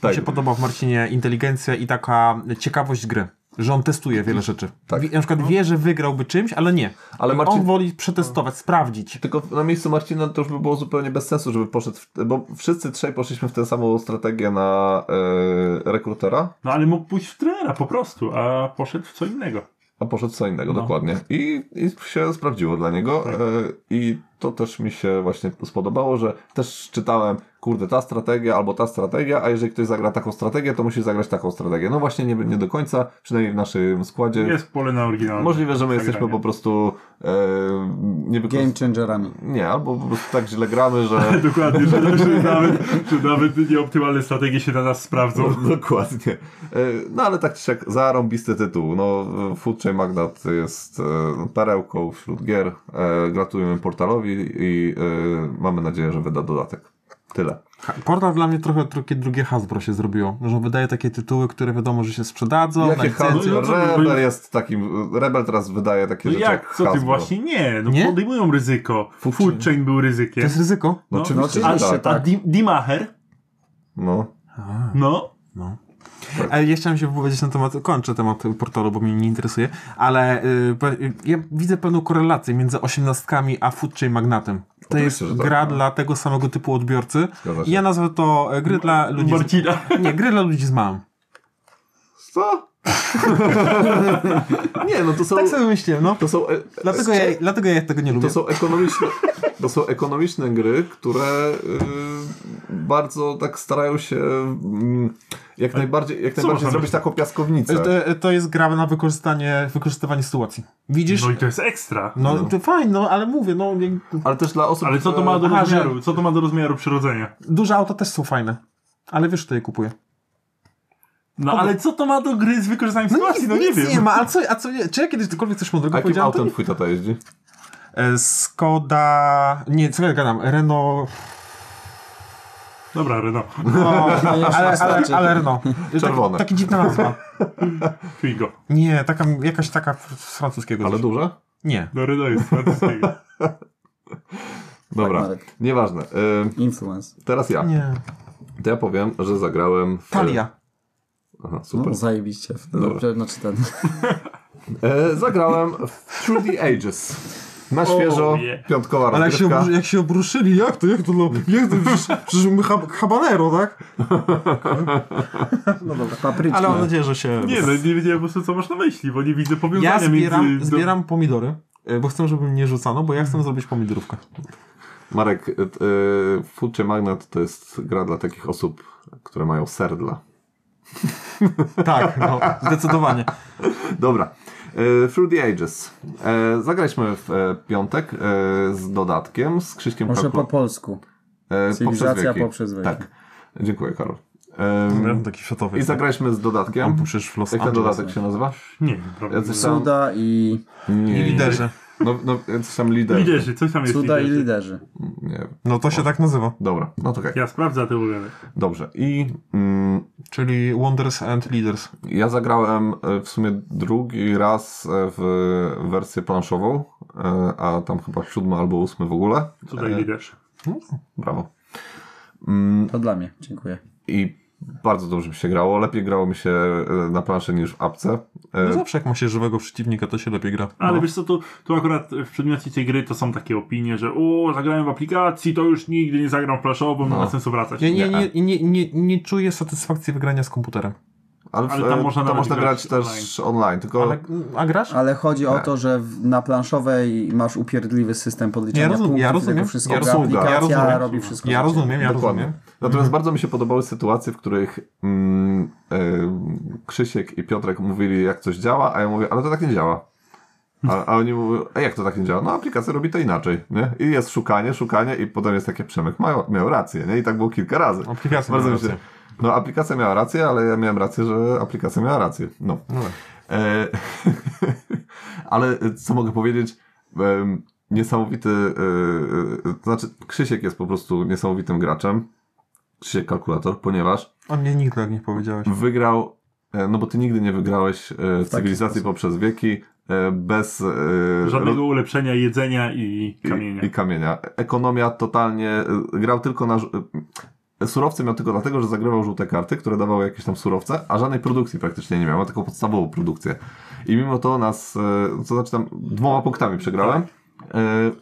Speaker 2: Tak,
Speaker 4: się podoba w Marcinie inteligencja i taka ciekawość gry. Że on testuje wiele rzeczy.
Speaker 2: Tak.
Speaker 4: Wi- Na przykład wie, że wygrałby czymś, ale nie.
Speaker 2: Ale
Speaker 4: Ale
Speaker 2: Marcin-
Speaker 4: On woli przetestować, sprawdzić.
Speaker 2: Tylko na miejscu Marcina to już by było zupełnie bez sensu, żeby poszedł, w, bo wszyscy trzej poszliśmy w tę samą strategię na e, rekrutera,
Speaker 3: No ale mógł pójść w trenera po prostu, a poszedł w co innego.
Speaker 2: a poszedł co innego
Speaker 3: No.
Speaker 2: dokładnie. I, I się sprawdziło dla niego e, i to też mi się właśnie spodobało, że też czytałem, kurde, ta strategia albo ta strategia, a jeżeli ktoś zagra taką strategię, to musi zagrać taką strategię. No właśnie nie, nie do końca, przynajmniej w naszym składzie.
Speaker 3: Jest pole na oryginalne.
Speaker 2: Możliwe, że my jesteśmy
Speaker 3: zagranie.
Speaker 2: po prostu e, nie
Speaker 1: Game
Speaker 2: wykorzystani.
Speaker 1: changerami.
Speaker 2: Nie, albo po prostu tak źle gramy,
Speaker 3: (laughs)
Speaker 2: że...
Speaker 3: Dokładnie, że, że, nawet, że nawet nieoptymalne strategie się na nas sprawdzą.
Speaker 2: No, (laughs) dokładnie. E, No ale tak czy siak, zarąbisty tytuł. No, Food Chain Magnat jest e, perełką wśród gier. E, Gratulujemy portalowi i e, mamy nadzieję, że wyda dodatek. Tyle.
Speaker 4: Ha- Portal dla mnie trochę takie drugie Hasbro się zrobiło. Że wydaje takie tytuły, które wiadomo, że się sprzedadzą. na
Speaker 2: Jakie
Speaker 4: licencję.
Speaker 2: Hasbro?
Speaker 3: no co wy-
Speaker 2: Rebel jest takim... Rebel teraz wydaje takie
Speaker 3: No
Speaker 2: rzeczy
Speaker 4: tak,
Speaker 3: jak? Co ty
Speaker 2: Hasbro.
Speaker 3: właśnie? Nie, no
Speaker 4: Nie?
Speaker 3: podejmują ryzyko. Food, chain był
Speaker 4: To
Speaker 3: ryzykiem.
Speaker 4: jest ryzyko?
Speaker 2: No,
Speaker 3: No,
Speaker 2: oczywiście,
Speaker 1: no,
Speaker 2: że
Speaker 1: oczywiście,
Speaker 2: tak.
Speaker 1: tak.
Speaker 3: A Di- Dimacher?
Speaker 2: No.
Speaker 3: No.
Speaker 2: Tak.
Speaker 4: Ale ja chciałem się wypowiedzieć na temat, kończę temat portalu, bo mnie nie interesuje, ale y, po- y, ja widzę pewną korelację między osiemnastkami a Food Chain Magnatem. To
Speaker 2: Oczywiście,
Speaker 4: jest
Speaker 2: że tak,
Speaker 4: gra
Speaker 2: no.
Speaker 4: dla tego samego typu odbiorcy.
Speaker 2: Zgadza się.
Speaker 4: Ja nazwę to e, gry dla ludzi z...
Speaker 3: Marcina.
Speaker 4: Nie, gry dla ludzi z małym.
Speaker 3: (laughs)
Speaker 2: Co? Nie, no to są...
Speaker 4: Tak sobie myślałem, no.
Speaker 2: To są, e,
Speaker 4: Dlatego ja, dlatego ja tego nie lubię.
Speaker 2: to są ekonomiczne... To są ekonomiczne gry, które y, bardzo tak starają się mm, jak najbardziej, jak najbardziej
Speaker 3: można
Speaker 2: zrobić
Speaker 3: robić?
Speaker 2: taką piaskownicę.
Speaker 4: E, To, to jest gra na wykorzystanie, wykorzystywanie sytuacji. Widzisz?
Speaker 3: No i to jest ekstra.
Speaker 4: No, to fajnie, no, ale mówię, no, jak,
Speaker 2: Ale też dla osób,
Speaker 3: Ale co to ma do
Speaker 4: Aha,
Speaker 3: rozmiaru? Co to ma do rozmiaru przyrodzenia?
Speaker 4: duże auta też są fajne. Ale wiesz, kto je kupuje.
Speaker 3: No ale co to ma do gry z wykorzystaniem sytuacji? No nie
Speaker 4: nic nie
Speaker 3: wiem.
Speaker 4: ma, a co, a co, czy ja kiedyś cokolwiek coś
Speaker 2: A
Speaker 4: mądrego
Speaker 2: jakim
Speaker 4: powiedziałem? To
Speaker 2: autem
Speaker 4: nie.
Speaker 2: twój tata jeździ?
Speaker 4: E, Skoda... Nie, co ja gadam? Renault...
Speaker 3: Dobra, Reno.
Speaker 4: No, ale, ale, ale,
Speaker 1: starczy.
Speaker 4: ale Renault.
Speaker 2: Czerwone.
Speaker 4: Taki, taki dziwna nazwa.
Speaker 3: Figo.
Speaker 4: Nie, taka, jakaś taka z francuskiego.
Speaker 2: Ale
Speaker 4: coś.
Speaker 2: duże?
Speaker 4: Nie.
Speaker 3: Do Reno No, jest francuskiego.
Speaker 2: Dobra,
Speaker 1: Marek.
Speaker 2: Tak, nieważne. Y,
Speaker 1: Influence.
Speaker 2: teraz ja.
Speaker 4: Nie.
Speaker 2: To ja powiem, że zagrałem w...
Speaker 4: Talia.
Speaker 2: Aha, super.
Speaker 1: No, zajebiście. Dobrze, znaczy ten.
Speaker 2: E, zagrałem w Through the Ages. Na świeżo,
Speaker 3: yeah.
Speaker 2: piątkowa
Speaker 4: Ale jak się,
Speaker 2: rozgrywka.
Speaker 4: obru- jak się obruszyli, jak to, jak to, no, jak to, przecież, przecież my hab- habanero, tak?
Speaker 1: No dobra, papryczki.
Speaker 4: Ale mam nadzieję, że się...
Speaker 3: Nie no, nie wiedziałem po prostu co masz na myśli, bo nie widzę powiązania
Speaker 4: Ja zbieram,
Speaker 3: między...
Speaker 4: zbieram pomidory, e, bo chcę, żeby mnie rzucano, bo ja chcę zrobić pomidorówkę.
Speaker 2: Marek, y, y, Future Magnet to jest gra dla takich osób, które mają serdla.
Speaker 4: Tak, no, zdecydowanie.
Speaker 2: Dobra. E, Through the Ages. E, Zagraliśmy w e, piątek e, z dodatkiem, z Krzyśkiem
Speaker 1: Może
Speaker 2: Kaklu-
Speaker 1: po polsku.
Speaker 2: e, poprzez
Speaker 1: Cywilizacja
Speaker 2: wieki.
Speaker 1: poprzez wieki.
Speaker 2: Tak. Dziękuję, Karol. E,
Speaker 4: taki światowy.
Speaker 2: I zagraliśmy z dodatkiem.
Speaker 4: przecież w Los
Speaker 2: Jak ten dodatek się nazywa?
Speaker 3: Nie wiem, prawda.
Speaker 2: Jacyś tam...
Speaker 1: Cuda i,
Speaker 4: I liderzy.
Speaker 2: No, no, jacyś tam liderzy.
Speaker 3: Liderzy, coś tam jest
Speaker 1: cuda i
Speaker 3: liderzy.
Speaker 1: liderzy.
Speaker 2: Nie wiem.
Speaker 4: No to się tak nazywa.
Speaker 2: Dobra, no to okej.
Speaker 3: Ja sprawdzę te ulemy.
Speaker 2: Dobrze. I mm,
Speaker 4: Czyli Wonders and Leaders.
Speaker 2: ja zagrałem e, w sumie drugi raz e, w wersję planszową, e, a tam chyba siódmy albo ósmy w ogóle.
Speaker 3: Cuda i liderzy.
Speaker 2: Brawo. Mm,
Speaker 1: To dla mnie, dziękuję.
Speaker 2: I bardzo dobrze mi się grało. Lepiej grało mi się e, na planszy niż w apce. E,
Speaker 4: No zawsze jak ma się żywego przeciwnika, to się lepiej gra.
Speaker 3: Ale
Speaker 4: No.
Speaker 3: wiesz co, tu, tu akurat w przedmiocie tej gry to są takie opinie, że o, zagrałem w aplikacji, to już nigdy nie zagram w planszową, nie ma sensu wracać.
Speaker 4: Ja nie, nie, nie, nie, nie czuję satysfakcji wygrania z komputerem.
Speaker 2: ale, w,
Speaker 3: ale tam
Speaker 2: e,
Speaker 3: można
Speaker 2: tam
Speaker 3: nawet
Speaker 2: można grać,
Speaker 3: grać
Speaker 2: też online, tylko
Speaker 4: Ale, a grasz?
Speaker 1: Ale chodzi o to, że w, na planszowej masz upierdliwy system podliczenia
Speaker 4: Ja rozum-
Speaker 1: punktów,
Speaker 4: ja
Speaker 1: i
Speaker 4: rozumiem,
Speaker 1: tego wszystko.
Speaker 4: ja
Speaker 1: gra,
Speaker 4: rozumiem,
Speaker 2: ja
Speaker 1: aplikacja
Speaker 4: rozumiem.
Speaker 1: robi wszystko.
Speaker 4: Ja
Speaker 1: za ciebie.
Speaker 4: rozumiem, ja
Speaker 2: Dokładnie.
Speaker 4: rozumiem.
Speaker 2: Natomiast
Speaker 3: Mhm.
Speaker 2: bardzo mi się podobały sytuacje, w których mm, e, Krzysiek i Piotrek mówili, jak coś działa, a ja mówię, ale to tak nie działa. A, a oni mówią, a jak to tak nie działa? No aplikacja robi to inaczej, nie? I jest szukanie, szukanie i potem jest takie Przemek, mają, miał rację, nie? I tak było kilka razy.
Speaker 3: No.
Speaker 4: Aplikacja
Speaker 2: Bardzo
Speaker 4: miała
Speaker 2: mi się-
Speaker 4: No, rację.
Speaker 2: No aplikacja miała rację, ale ja miałem rację, że aplikacja miała rację. No.
Speaker 4: No tak.
Speaker 2: E, (laughs) ale co mogę powiedzieć? Em, niesamowity. e, e, znaczy, Krzysiek jest po prostu niesamowitym graczem. Krzysiek kalkulator, ponieważ
Speaker 4: A mnie nigdy tak nie powiedziałeś.
Speaker 2: wygrał. e, No bo ty nigdy nie wygrałeś e, w cywilizacji
Speaker 1: sposób.
Speaker 2: poprzez wieki e, bez e,
Speaker 3: Żadnego ulepszenia jedzenia i
Speaker 2: i-
Speaker 3: kamienia.
Speaker 2: I kamienia. Ekonomia totalnie y, grał tylko na. żu- y, Surowce miał tylko dlatego, że zagrywał żółte karty, które dawały jakieś tam surowce, a żadnej produkcji praktycznie nie miał, miał tylko podstawową produkcję. I mimo to nas, y, to znaczy tam dwoma punktami przegrałem,
Speaker 3: Tak.
Speaker 2: y,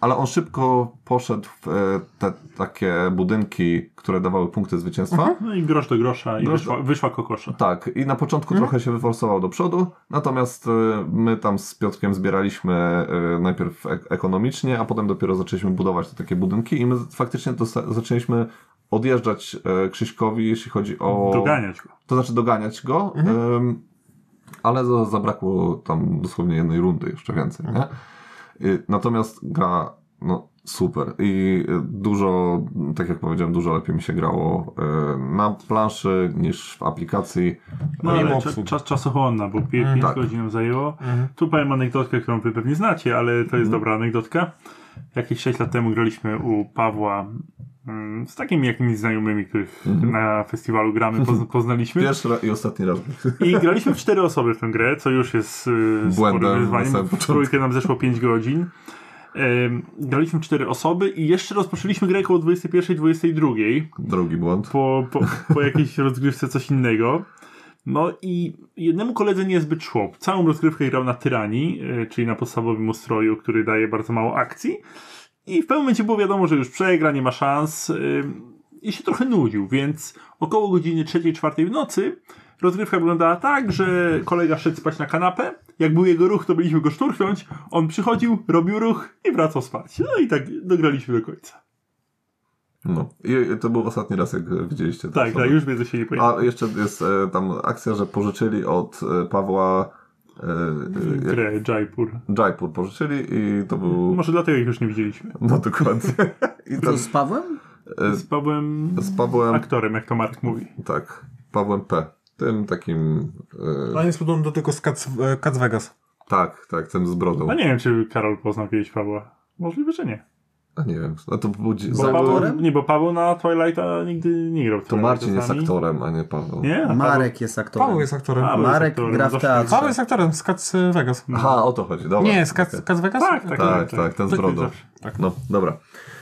Speaker 2: ale on szybko poszedł w y, te takie budynki, które dawały punkty zwycięstwa.
Speaker 3: No i grosz do grosza i
Speaker 2: Grosz do-
Speaker 3: wyszła, wyszła kokosza.
Speaker 2: Tak, i na początku trochę się wyforsował do przodu, natomiast y, my tam z Piotrkiem zbieraliśmy y, najpierw ek- ekonomicznie, a potem dopiero zaczęliśmy budować te takie budynki i my faktycznie dosta- zaczęliśmy odjeżdżać y, Krzyśkowi, jeśli chodzi o...
Speaker 3: Doganiać go.
Speaker 2: To znaczy doganiać go, ym, ale za- zabrakło tam dosłownie jednej rundy jeszcze więcej, nie? Y, Natomiast gra, no super i y, dużo, tak jak powiedziałem, dużo lepiej mi się grało y, na planszy niż w aplikacji.
Speaker 3: No
Speaker 4: Nie
Speaker 3: ale
Speaker 4: ma
Speaker 3: cza-
Speaker 4: obsługi.
Speaker 3: czas czasochłonna, bo 5
Speaker 2: tak.
Speaker 3: godzin nam zajęło.
Speaker 4: Mhm.
Speaker 3: Tu powiem anegdotkę, którą wy pewnie znacie, ale to
Speaker 2: Mhm.
Speaker 3: jest dobra anegdotka. Jakieś 6 lat temu graliśmy u Pawła mm, z takimi jakimiś znajomymi, których
Speaker 2: Mhm.
Speaker 3: na
Speaker 2: (laughs)
Speaker 3: festiwalu gramy, pozna- poznaliśmy.
Speaker 2: Pierwszy ra- i ostatni raz.
Speaker 3: I graliśmy w cztery osoby w tę grę, co już jest yy,
Speaker 2: Błędem na
Speaker 3: sporym
Speaker 2: samym
Speaker 3: wyzwaniem. W
Speaker 2: początku.
Speaker 3: trójkę nam zeszło 5 godzin. Em, graliśmy w cztery osoby i jeszcze rozpoczęliśmy grę około 21-22
Speaker 2: Drugi błąd.
Speaker 3: po, po, po jakiejś rozgrywce coś innego. No i jednemu koledze niezbyt szło. Całą rozgrywkę grał na tyranii, e, czyli na podstawowym ustroju, który daje bardzo mało akcji. I w pewnym momencie było wiadomo, że już przegra, nie ma szans. e, I się trochę nudził, więc około godziny 3-4 w nocy Rozgrywka wyglądała tak, że kolega szedł spać na kanapę. Jak był jego ruch, to byliśmy go szturchnąć. On przychodził, robił ruch i wracał spać. No i tak dograliśmy do końca.
Speaker 2: No. I to był ostatni raz, jak widzieliście. tę
Speaker 3: Tak,
Speaker 2: osobę.
Speaker 3: tak, już więcej się nie pojawia.
Speaker 2: A jeszcze jest e, tam akcja, że pożyczyli od e, Pawła e, e,
Speaker 3: Grę Jaipur.
Speaker 2: Jaipur pożyczyli i to był...
Speaker 3: No, Może dlatego ich już nie widzieliśmy.
Speaker 2: (laughs) No dokładnie. I tam
Speaker 1: To z Pawłem?
Speaker 2: e,
Speaker 3: Z Pawłem
Speaker 2: z Pawłem...
Speaker 3: aktorem, jak to Mark mówi.
Speaker 2: Tak, Pawłem P. Tym takim... E,
Speaker 4: On jest podobny do tego z Cats, e, Cats Vegas.
Speaker 2: tak, tak, tym z brodą.
Speaker 3: A nie wiem, czy Karol poznał kiedyś Pawła. Możliwe, że nie.
Speaker 2: A nie wiem, a to był... dzi-
Speaker 3: Bo
Speaker 2: za-
Speaker 3: Paweł,
Speaker 1: aktorem?
Speaker 3: nie, bo Paweł na Twilighta nigdy nie grał. w
Speaker 2: To
Speaker 3: Twilighta
Speaker 2: Marcin jest
Speaker 3: sami.
Speaker 2: aktorem, a nie Paweł.
Speaker 3: Nie? A
Speaker 1: Marek jest
Speaker 2: No
Speaker 1: aktorem.
Speaker 2: tak.
Speaker 4: Paweł jest aktorem.
Speaker 3: Paweł jest
Speaker 1: Marek
Speaker 3: aktorem,
Speaker 1: gra w
Speaker 3: zawsze-
Speaker 1: teatrze.
Speaker 4: Paweł jest aktorem z Cats e, Vegas.
Speaker 2: Aha, o to chodzi, dobra.
Speaker 4: Nie, z Cats,
Speaker 2: Okej.
Speaker 4: Cats Vegas?
Speaker 3: Tak, tak,
Speaker 2: No, Tak, tak, ten z
Speaker 3: Tak,
Speaker 2: brodą.
Speaker 3: zawsze.
Speaker 2: No, dobra.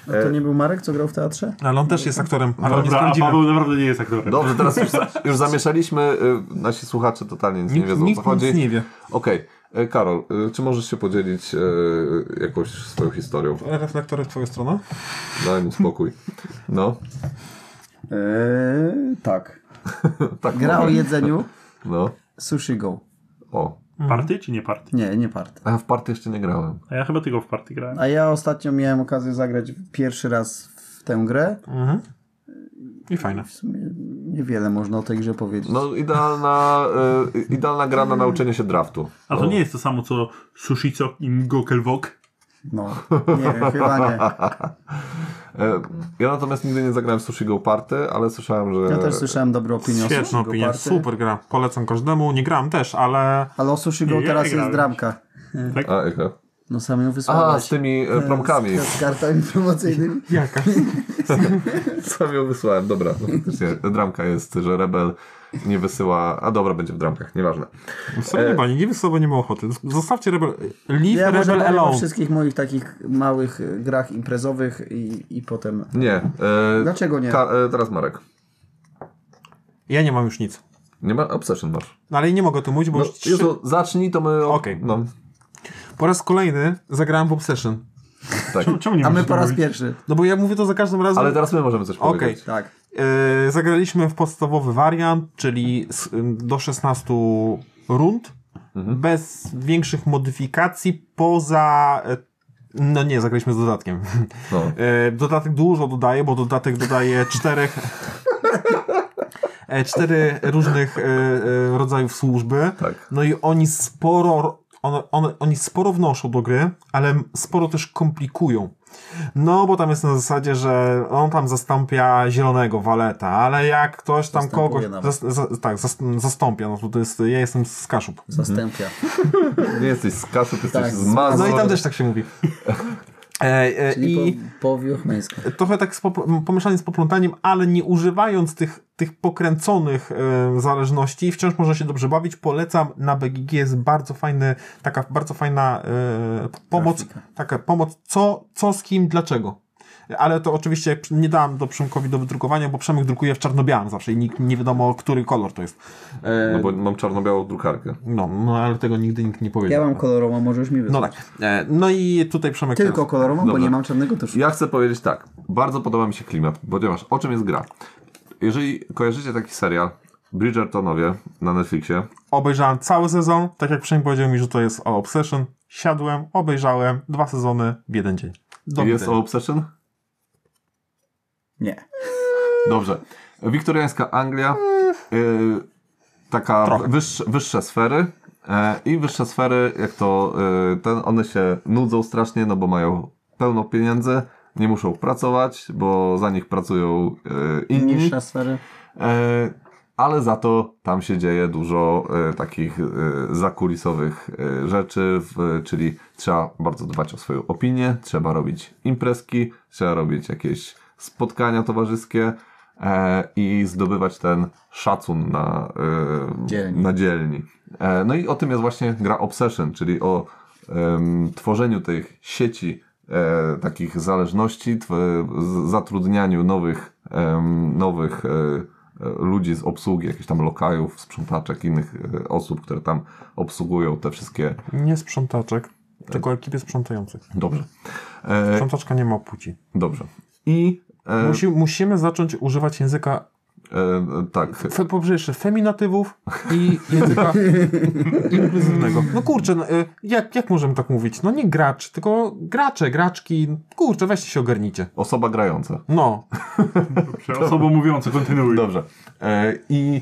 Speaker 1: No to nie był Marek, co grał w teatrze?
Speaker 4: Ale on też jest aktorem, ale on jest
Speaker 3: Dobra, a
Speaker 4: prawdziwy.
Speaker 3: Paweł naprawdę nie jest aktorem.
Speaker 2: Dobrze, teraz już, za, już zamieszaliśmy. y, Nasi słuchacze totalnie nic nie
Speaker 4: Nikt,
Speaker 2: wiedzą o co
Speaker 4: nikt
Speaker 2: chodzi.
Speaker 4: nic nie wie.
Speaker 2: Okej, e, Karol, y, czy możesz się podzielić e, jakąś swoją historią?
Speaker 4: Reflektory w twoją stronę?
Speaker 2: Daj mi spokój. No,
Speaker 1: Eee, tak.
Speaker 2: tak.
Speaker 1: Gra o
Speaker 2: mówię.
Speaker 1: jedzeniu
Speaker 2: No,
Speaker 1: Sushi Go.
Speaker 2: o.
Speaker 3: Party czy nie party?
Speaker 1: Nie, nie part.
Speaker 2: A ja w party jeszcze nie grałem.
Speaker 3: A ja chyba tylko w party grałem.
Speaker 1: A ja ostatnio miałem okazję zagrać pierwszy raz w tę grę.
Speaker 4: Mhm. I fajne.
Speaker 1: W sumie niewiele można o tej grze powiedzieć.
Speaker 2: No, idealna, y, idealna gra na nauczenie się draftu.
Speaker 3: A to
Speaker 2: No.
Speaker 3: nie jest to samo co Sushico i Gokelwok.
Speaker 1: No, nie wiem, chyba nie.
Speaker 2: E, Ja natomiast nigdy nie zagrałem w Sushi Go Party, ale słyszałem, że...
Speaker 1: Ja też słyszałem dobre opinie o Sushi
Speaker 4: Świetna
Speaker 1: Go
Speaker 4: opinia,
Speaker 1: Party.
Speaker 4: super gra. Polecam każdemu. Nie grałem też, ale
Speaker 1: Ale o Sushi
Speaker 3: Nie,
Speaker 1: Go
Speaker 3: ja
Speaker 1: teraz
Speaker 3: nie
Speaker 1: jest
Speaker 3: grałem.
Speaker 1: dramka.
Speaker 2: A, jaka?
Speaker 1: No sam ją
Speaker 2: A, z
Speaker 1: wysłałeś.
Speaker 2: tymi e,
Speaker 1: (laughs)
Speaker 2: promkami.
Speaker 1: Z, z kartami promocyjnymi.
Speaker 4: jaka?
Speaker 2: Sam ją wysłałem, dobra. No, faktycznie, dramka jest, że Rebel nie wysyła... A dobra, będzie w dramkach, nieważne.
Speaker 4: Sobie nie bani, nie wy sobie nie ma ochoty. Zostawcie Rebel... Leave
Speaker 1: Ja może
Speaker 4: Rebel
Speaker 1: powiem o
Speaker 4: alone.
Speaker 1: wszystkich moich takich małych e, grach imprezowych i, i potem...
Speaker 2: Nie. E,
Speaker 1: Dlaczego nie?
Speaker 2: Ka- e, teraz Marek.
Speaker 4: Ja nie mam już nic.
Speaker 2: Nie ma Obsession masz.
Speaker 4: No, ale nie mogę tu mówić, bo
Speaker 2: No,
Speaker 4: już trzy...
Speaker 2: Jezu, zacznij, to my...
Speaker 4: Okej.
Speaker 2: No,
Speaker 4: po raz kolejny zagrałem w Obsession.
Speaker 2: tak.
Speaker 3: Czemu, czemu nie
Speaker 1: A my
Speaker 3: możesz
Speaker 1: po raz
Speaker 3: mówić?
Speaker 1: pierwszy.
Speaker 4: No bo ja mówię to za każdym razem.
Speaker 2: Ale teraz my możemy coś
Speaker 4: Okej.
Speaker 2: powiedzieć.
Speaker 1: Tak.
Speaker 4: E, zagraliśmy w podstawowy wariant, czyli s- do 16 rund, bez większych modyfikacji, poza... e, No nie, zagraliśmy z dodatkiem. (laughs)
Speaker 2: No.
Speaker 4: E, Dodatek dużo dodaje, bo dodatek dodaje czterech... e, Cztery różnych e, e, rodzajów służby.
Speaker 2: Tak.
Speaker 4: No i oni sporo, on, on, oni sporo wnoszą do gry, ale sporo też komplikują. No, bo tam jest na zasadzie, że on tam zastąpia zielonego waleta, ale jak ktoś tam
Speaker 1: Zastępuje
Speaker 4: kogoś.
Speaker 1: nawet.
Speaker 4: Zas, za, tak, zas, zastąpia. No to, to jest. Ja jestem z Kaszub. No
Speaker 1: Zastępia.
Speaker 2: Nie jesteś z kaszu, ty jesteś
Speaker 1: Tak.
Speaker 2: z mazu.
Speaker 4: No i tam też tak się mówi. E, e,
Speaker 1: Czyli
Speaker 4: I
Speaker 1: po, po wiochmeńsku.
Speaker 4: trochę tak z popl- pomieszanie z poplątaniem, ale nie używając tych, tych pokręconych e, zależności, wciąż można się dobrze bawić. Polecam na BGG jest bardzo fajny, taka bardzo fajna e, pomoc,
Speaker 1: Grafika.
Speaker 4: taka pomoc co, co z kim, dlaczego. Ale to oczywiście przy- nie dałem do Przemkowi do wydrukowania, bo Przemek drukuje w czarno-białym zawsze i nikt nie wiadomo, który kolor to jest. E,
Speaker 2: No bo mam czarno-białą drukarkę.
Speaker 4: no, no, ale tego nigdy nikt nie
Speaker 1: Ja
Speaker 4: powiedział.
Speaker 1: mam kolorową, możesz mi
Speaker 4: no
Speaker 1: wysłać.
Speaker 4: tak. E, no i tutaj Przemek...
Speaker 1: Tylko
Speaker 4: teraz-
Speaker 1: kolorową, bo
Speaker 2: Dobra.
Speaker 1: nie mam czarnego tuszu.
Speaker 2: Ja chcę powiedzieć tak. Bardzo podoba mi się klimat, ponieważ o czym jest gra? Jeżeli kojarzycie taki serial Bridgertonowie na Netflixie,
Speaker 4: obejrzałem cały sezon, tak jak Przemek powiedział mi, że to jest o Obsession, siadłem, obejrzałem dwa sezony w jeden dzień. Do
Speaker 2: jest o
Speaker 4: widzenia.
Speaker 2: Obsession?
Speaker 1: Nie.
Speaker 2: Dobrze. Wiktoriańska Anglia, y, taka
Speaker 4: Trochę.
Speaker 2: wyższe, wyższe sfery y, i wyższe sfery, jak to y, ten, one się nudzą strasznie, no bo mają pełno pieniędzy, nie muszą pracować, bo za nich pracują y, inni.
Speaker 1: Niższa sfery.
Speaker 2: E, ale za to tam się dzieje dużo e, takich e, zakulisowych e, rzeczy, w, czyli trzeba bardzo dbać o swoją opinię, trzeba robić imprezki, trzeba robić jakieś spotkania towarzyskie e, i zdobywać ten szacun na, e,
Speaker 1: Dzielni.
Speaker 2: na dzielni. E, no i o tym jest właśnie gra Obsession, czyli o em, tworzeniu tych sieci e, takich zależności, tw- z- zatrudnianiu nowych, em, nowych e, e, ludzi z obsługi, jakichś tam lokajów, sprzątaczek, innych e, osób, które tam obsługują te wszystkie.
Speaker 4: Nie sprzątaczek, tylko ekipy sprzątających.
Speaker 2: Dobrze. E,
Speaker 4: Sprzątaczka nie ma płci.
Speaker 2: dobrze. I e,
Speaker 4: Musi, musimy zacząć używać języka
Speaker 2: E, tak.
Speaker 4: Fe, pobrzeże feminatywów i
Speaker 2: (laughs)
Speaker 4: języka inkluzywnego. No kurczę, no, y, jak, jak możemy tak mówić? No nie gracz, tylko gracze, graczki. Kurczę, weźcie się ogarnijcie.
Speaker 2: Osoba grająca.
Speaker 4: No,
Speaker 3: Dobrze, Osoba mówiąca, kontynuuj.
Speaker 2: Dobrze. E, I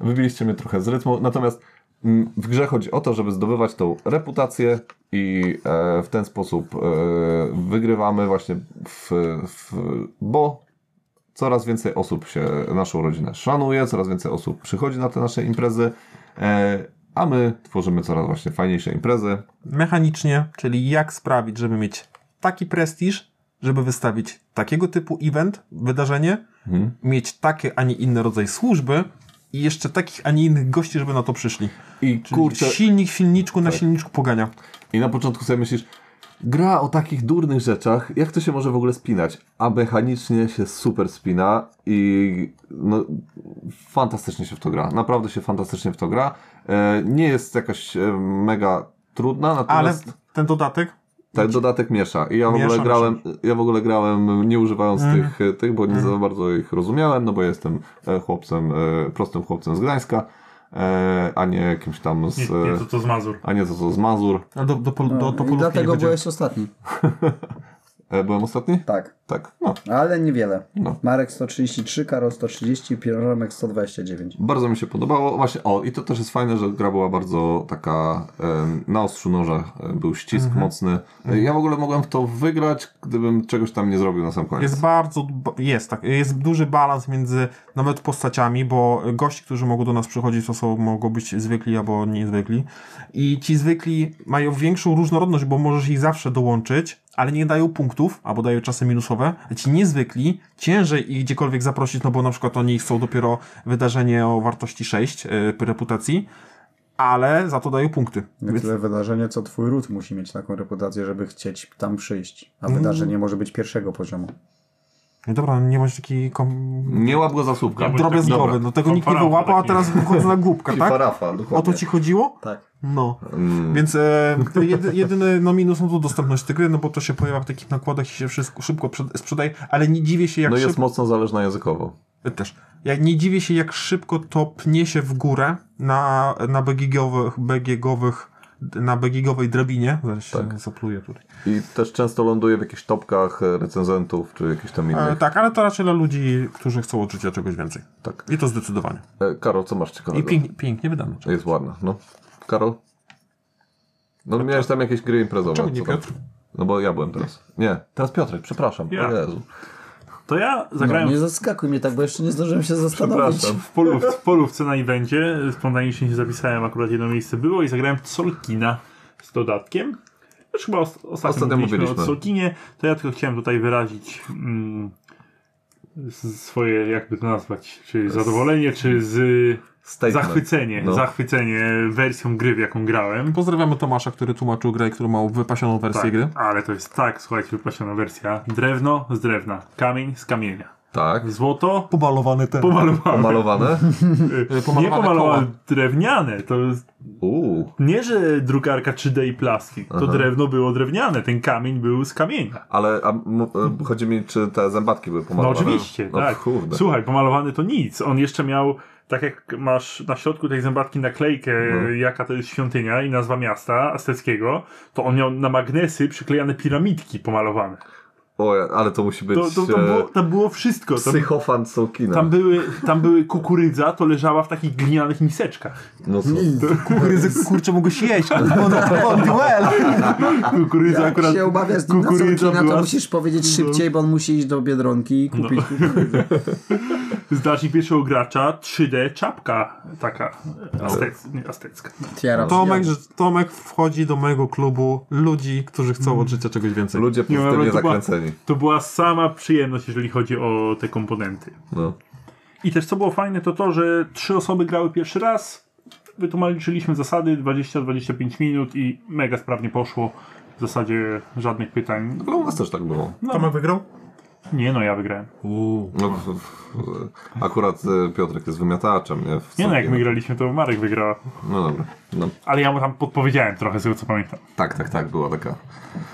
Speaker 2: wybiliście mnie trochę z rytmu. Natomiast mm, w grze chodzi o to, żeby zdobywać tą reputację i e, w ten sposób e, wygrywamy właśnie w, w, bo coraz więcej osób się naszą rodzinę szanuje, coraz więcej osób przychodzi na te nasze imprezy, e, a my tworzymy coraz właśnie fajniejsze imprezy.
Speaker 4: mechanicznie, czyli jak sprawić, żeby mieć taki prestiż, żeby wystawić takiego typu event, wydarzenie,
Speaker 2: Mhm.
Speaker 4: mieć takie, a nie inny rodzaj służby i jeszcze takich, a nie innych gości, żeby na to przyszli.
Speaker 2: I
Speaker 4: Czyli
Speaker 2: kurczę, Tak.
Speaker 4: silnik silniczku na silniczku pogania.
Speaker 2: I na początku sobie myślisz, gra o takich durnych rzeczach, jak to się może w ogóle spinać? A mechanicznie się super spina i no, fantastycznie się w to gra. Naprawdę się fantastycznie w to gra. E, nie jest jakaś e, mega trudna,
Speaker 4: Ale
Speaker 2: natomiast
Speaker 4: ten dodatek
Speaker 2: ten dodatek miesza. I ja w
Speaker 4: Miesza,
Speaker 2: ogóle
Speaker 4: miesza.
Speaker 2: grałem, ja w ogóle grałem nie używając tych, e, tych, bo nie za bardzo ich rozumiałem, no bo jestem e, chłopcem, e, prostym chłopcem z Gdańska, e, a nie kimś tam z...
Speaker 3: Nie, nie,
Speaker 2: e,
Speaker 3: to to z Mazur.
Speaker 2: A nie to co z Mazur.
Speaker 4: A do, do, pol,
Speaker 2: No.
Speaker 4: do, do
Speaker 1: No, I
Speaker 4: polówki
Speaker 1: dlatego
Speaker 4: nie będzie.
Speaker 1: byłeś ostatni.
Speaker 2: E, byłem ostatni?
Speaker 1: Tak.
Speaker 2: Tak, no.
Speaker 1: Ale niewiele.
Speaker 2: No.
Speaker 1: Marek 133, Karol 130, Pieromek 129.
Speaker 2: Bardzo mi się podobało. Właśnie, o, i to też jest fajne, że gra była bardzo taka em, na ostrzu noża. e, Był ścisk
Speaker 4: Mhm.
Speaker 2: mocny. E, Ja w ogóle mogłem w to wygrać, gdybym czegoś tam nie zrobił na sam koniec.
Speaker 4: Tak. Jest bardzo, ba- jest tak, jest duży balans między nawet postaciami, bo gości, którzy mogą do nas przychodzić, to są, mogą być zwykli albo niezwykli. I ci zwykli mają większą różnorodność, bo możesz ich zawsze dołączyć, ale nie dają punktów, albo dają czasy minusowe. A ci niezwykli, ciężej ich gdziekolwiek zaprosić, no bo na przykład oni chcą dopiero wydarzenie o wartości 6 y, reputacji, ale za to dają punkty.
Speaker 1: Nie tyle wydarzenie, co twój ród musi mieć taką reputację, żeby chcieć tam przyjść. A wydarzenie może być pierwszego poziomu.
Speaker 4: Dobra, nie bądź taki kom...
Speaker 2: Nie łap go za słupka.
Speaker 3: tak Dobra.
Speaker 4: drobiazgowy, no tego nikt nie
Speaker 3: Farafa
Speaker 4: wyłapał, a
Speaker 3: taki.
Speaker 4: teraz wychodzę na
Speaker 2: (laughs)
Speaker 4: głupka, tak?
Speaker 2: Farafa, dokładnie.
Speaker 4: O to ci chodziło?
Speaker 1: Tak.
Speaker 4: No.
Speaker 2: Mm.
Speaker 4: Więc e, to jedy, jedyny no, minus no to dostępność tej gry, no bo to się pojawia w takich nakładach i się wszystko szybko przed, sprzedaje, ale nie dziwię się jak
Speaker 2: No
Speaker 4: szybko...
Speaker 2: jest mocno zależna językowo.
Speaker 4: Też. Ja nie dziwię się jak szybko to pnie się w górę na, na BGG-owych, BGG-owych na BGG-owej drabinie. Zaraz się zapluję tutaj.
Speaker 2: I też często ląduje w jakichś topkach e, recenzentów, czy jakichś tam innych.
Speaker 4: E, tak, ale to raczej dla ludzi, którzy chcą od życia czegoś więcej.
Speaker 2: Tak.
Speaker 4: I to zdecydowanie.
Speaker 2: E, Karol, co masz ciekawego?
Speaker 4: I pięk, pięknie wydane.
Speaker 2: Jest ładna, no. Karol? No miałeś tam jakieś gry imprezowe.
Speaker 4: Czemu nie
Speaker 2: co tam?
Speaker 4: Piotr?
Speaker 2: No bo ja byłem teraz. Nie, teraz Piotrek, przepraszam.
Speaker 3: Ja.
Speaker 2: O Jezu.
Speaker 3: To ja
Speaker 1: No,
Speaker 3: zagrałem
Speaker 1: nie zaskakuj mnie tak, bo jeszcze nie zdążyłem się zastanowić.
Speaker 2: Przepraszam.
Speaker 3: w, polówce, w polówce na evencie. Spontanicznie się zapisałem, akurat jedno miejsce było i zagrałem Solkina z dodatkiem. Już chyba os- ostatnio,
Speaker 2: Ostatnio
Speaker 3: mówiliśmy,
Speaker 2: mówiliśmy.
Speaker 3: o Solkinie, to ja tylko chciałem tutaj wyrazić mm, s- swoje, jakby to nazwać, czy zadowolenie, czy z...
Speaker 2: Statement.
Speaker 3: Zachwycenie,
Speaker 2: No.
Speaker 3: zachwycenie wersją gry, w jaką grałem.
Speaker 4: Pozdrawiamy Tomasza, który tłumaczył grę, i który ma wypasioną wersję
Speaker 3: Tak,
Speaker 4: gry.
Speaker 3: ale to jest tak, słuchajcie, wypasiona wersja. Drewno z drewna, kamień z kamienia,
Speaker 2: Tak.
Speaker 3: złoto
Speaker 4: Pomalowany ten.
Speaker 3: pomalowane. (laughs)
Speaker 2: Pomalowane?
Speaker 3: nie
Speaker 4: pomalowane
Speaker 3: pomalowane,
Speaker 4: koła.
Speaker 3: drewniane. To jest-
Speaker 2: Uuu.
Speaker 3: nie, że drukarka 3D i plastik. To drewno było drewniane, ten kamień był z kamienia.
Speaker 2: Ale a, m- e, chodzi mi, czy te zębatki były
Speaker 3: No
Speaker 2: pomalowane?
Speaker 3: oczywiście,
Speaker 2: no,
Speaker 3: tak.
Speaker 2: Kurde.
Speaker 3: Słuchaj, pomalowany to nic. On jeszcze miał, tak jak masz na środku tej zębatki naklejkę,
Speaker 2: No.
Speaker 3: jaka to jest świątynia i nazwa miasta azteckiego, to on miał na magnesy przyklejane piramidki pomalowane.
Speaker 2: O, ale to musi być
Speaker 3: To, to, to, było, to było wszystko.
Speaker 2: e,
Speaker 3: To,
Speaker 2: psychofan Sołkina.
Speaker 3: tam, były, tam były kukurydza, to leżała w takich glinianych miseczkach.
Speaker 2: No co?
Speaker 4: Kukurydzę, kurczę, mogę się jeść. On, on duel.
Speaker 3: Kukurydza
Speaker 1: Jak
Speaker 3: akurat...
Speaker 1: się obawiasz
Speaker 3: kukurydza
Speaker 1: na to
Speaker 3: była-
Speaker 1: musisz powiedzieć szybciej, bo on musi iść do Biedronki i (laughs) kupić kukurydzę.
Speaker 3: Znacznik pierwszego gracza 3D czapka taka aztec, nie, aztecka.
Speaker 1: Tiara
Speaker 4: Tomek,
Speaker 1: przyjaciół.
Speaker 4: że Tomek wchodzi do mojego klubu ludzi, którzy chcą od życia czegoś więcej.
Speaker 2: Ludzie
Speaker 3: Nie, ale
Speaker 2: pozytywnie
Speaker 3: to była-
Speaker 2: zakręceni.
Speaker 3: To była sama przyjemność, jeżeli chodzi o te komponenty.
Speaker 2: No.
Speaker 3: I też co było fajne, to to, że trzy osoby grały pierwszy raz. Wytłumaczyliśmy zasady 20-25 minut i mega sprawnie poszło. W zasadzie żadnych pytań.
Speaker 2: No u nas też tak było.
Speaker 4: Tomek wygrał?
Speaker 3: Nie no, ja wygrałem.
Speaker 4: Uuu.
Speaker 2: No, w, w, akurat e, Piotrek jest wymiataczem, nie? W
Speaker 3: Nie no, jak
Speaker 2: całkiem-
Speaker 3: my graliśmy, to Marek wygrała.
Speaker 2: No dobra. No,
Speaker 3: Ale ja mu tam podpowiedziałem trochę, z tego co pamiętam.
Speaker 2: tak, tak, tak, była taka.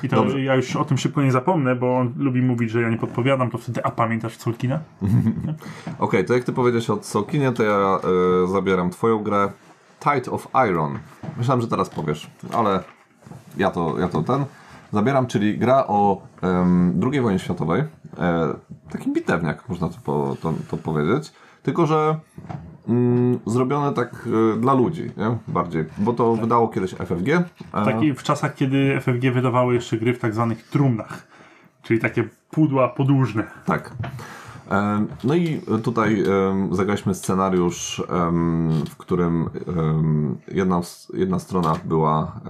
Speaker 3: I to
Speaker 2: Dobrze.
Speaker 3: ja już o tym szybko nie zapomnę, bo on lubi mówić, że ja nie podpowiadam, to wtedy, a pamiętasz Culkina?
Speaker 2: Okej, to jak ty powiedziałeś o Sokinie, to ja e, zabieram twoją grę Tide of Iron. Myślałem, że teraz powiesz, ale ja to, ja to ten zabieram, czyli gra o em, II wojnie światowej. E, taki bitewniak, można to, po, to, to powiedzieć. Tylko, że mm, zrobione tak e, dla ludzi, nie? Bardziej. Bo to wydało kiedyś FFG. E,
Speaker 3: Taki Tak, w czasach, kiedy FFG wydawały jeszcze gry w tak zwanych trumnach, czyli takie pudła podłużne.
Speaker 2: Tak. Em, No i tutaj em, zagraliśmy scenariusz, em, w którym em, jedna, z- jedna strona była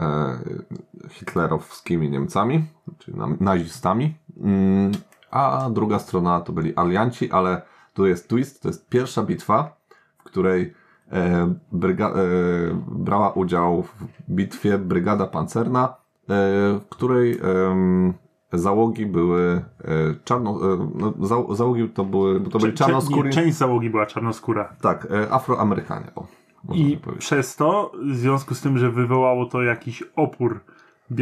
Speaker 2: e, hitlerowskimi Niemcami, czyli nam- nazistami, mm, a druga strona to byli alianci, ale tu jest twist, to jest pierwsza bitwa, w której e, bryga, e, brała udział w bitwie Brygada Pancerna, e, w której em, załogi były e, czarno... E, no, za, załogi to były... Bo to byli
Speaker 3: Cze- cze-
Speaker 2: czarnoskóry...
Speaker 3: nie, Część załogi była czarnoskóra.
Speaker 2: Tak, e, Afroamerykanie. O, można
Speaker 3: I
Speaker 2: tak powiedzieć.
Speaker 3: przez to, w związku z tym, że wywołało to jakiś opór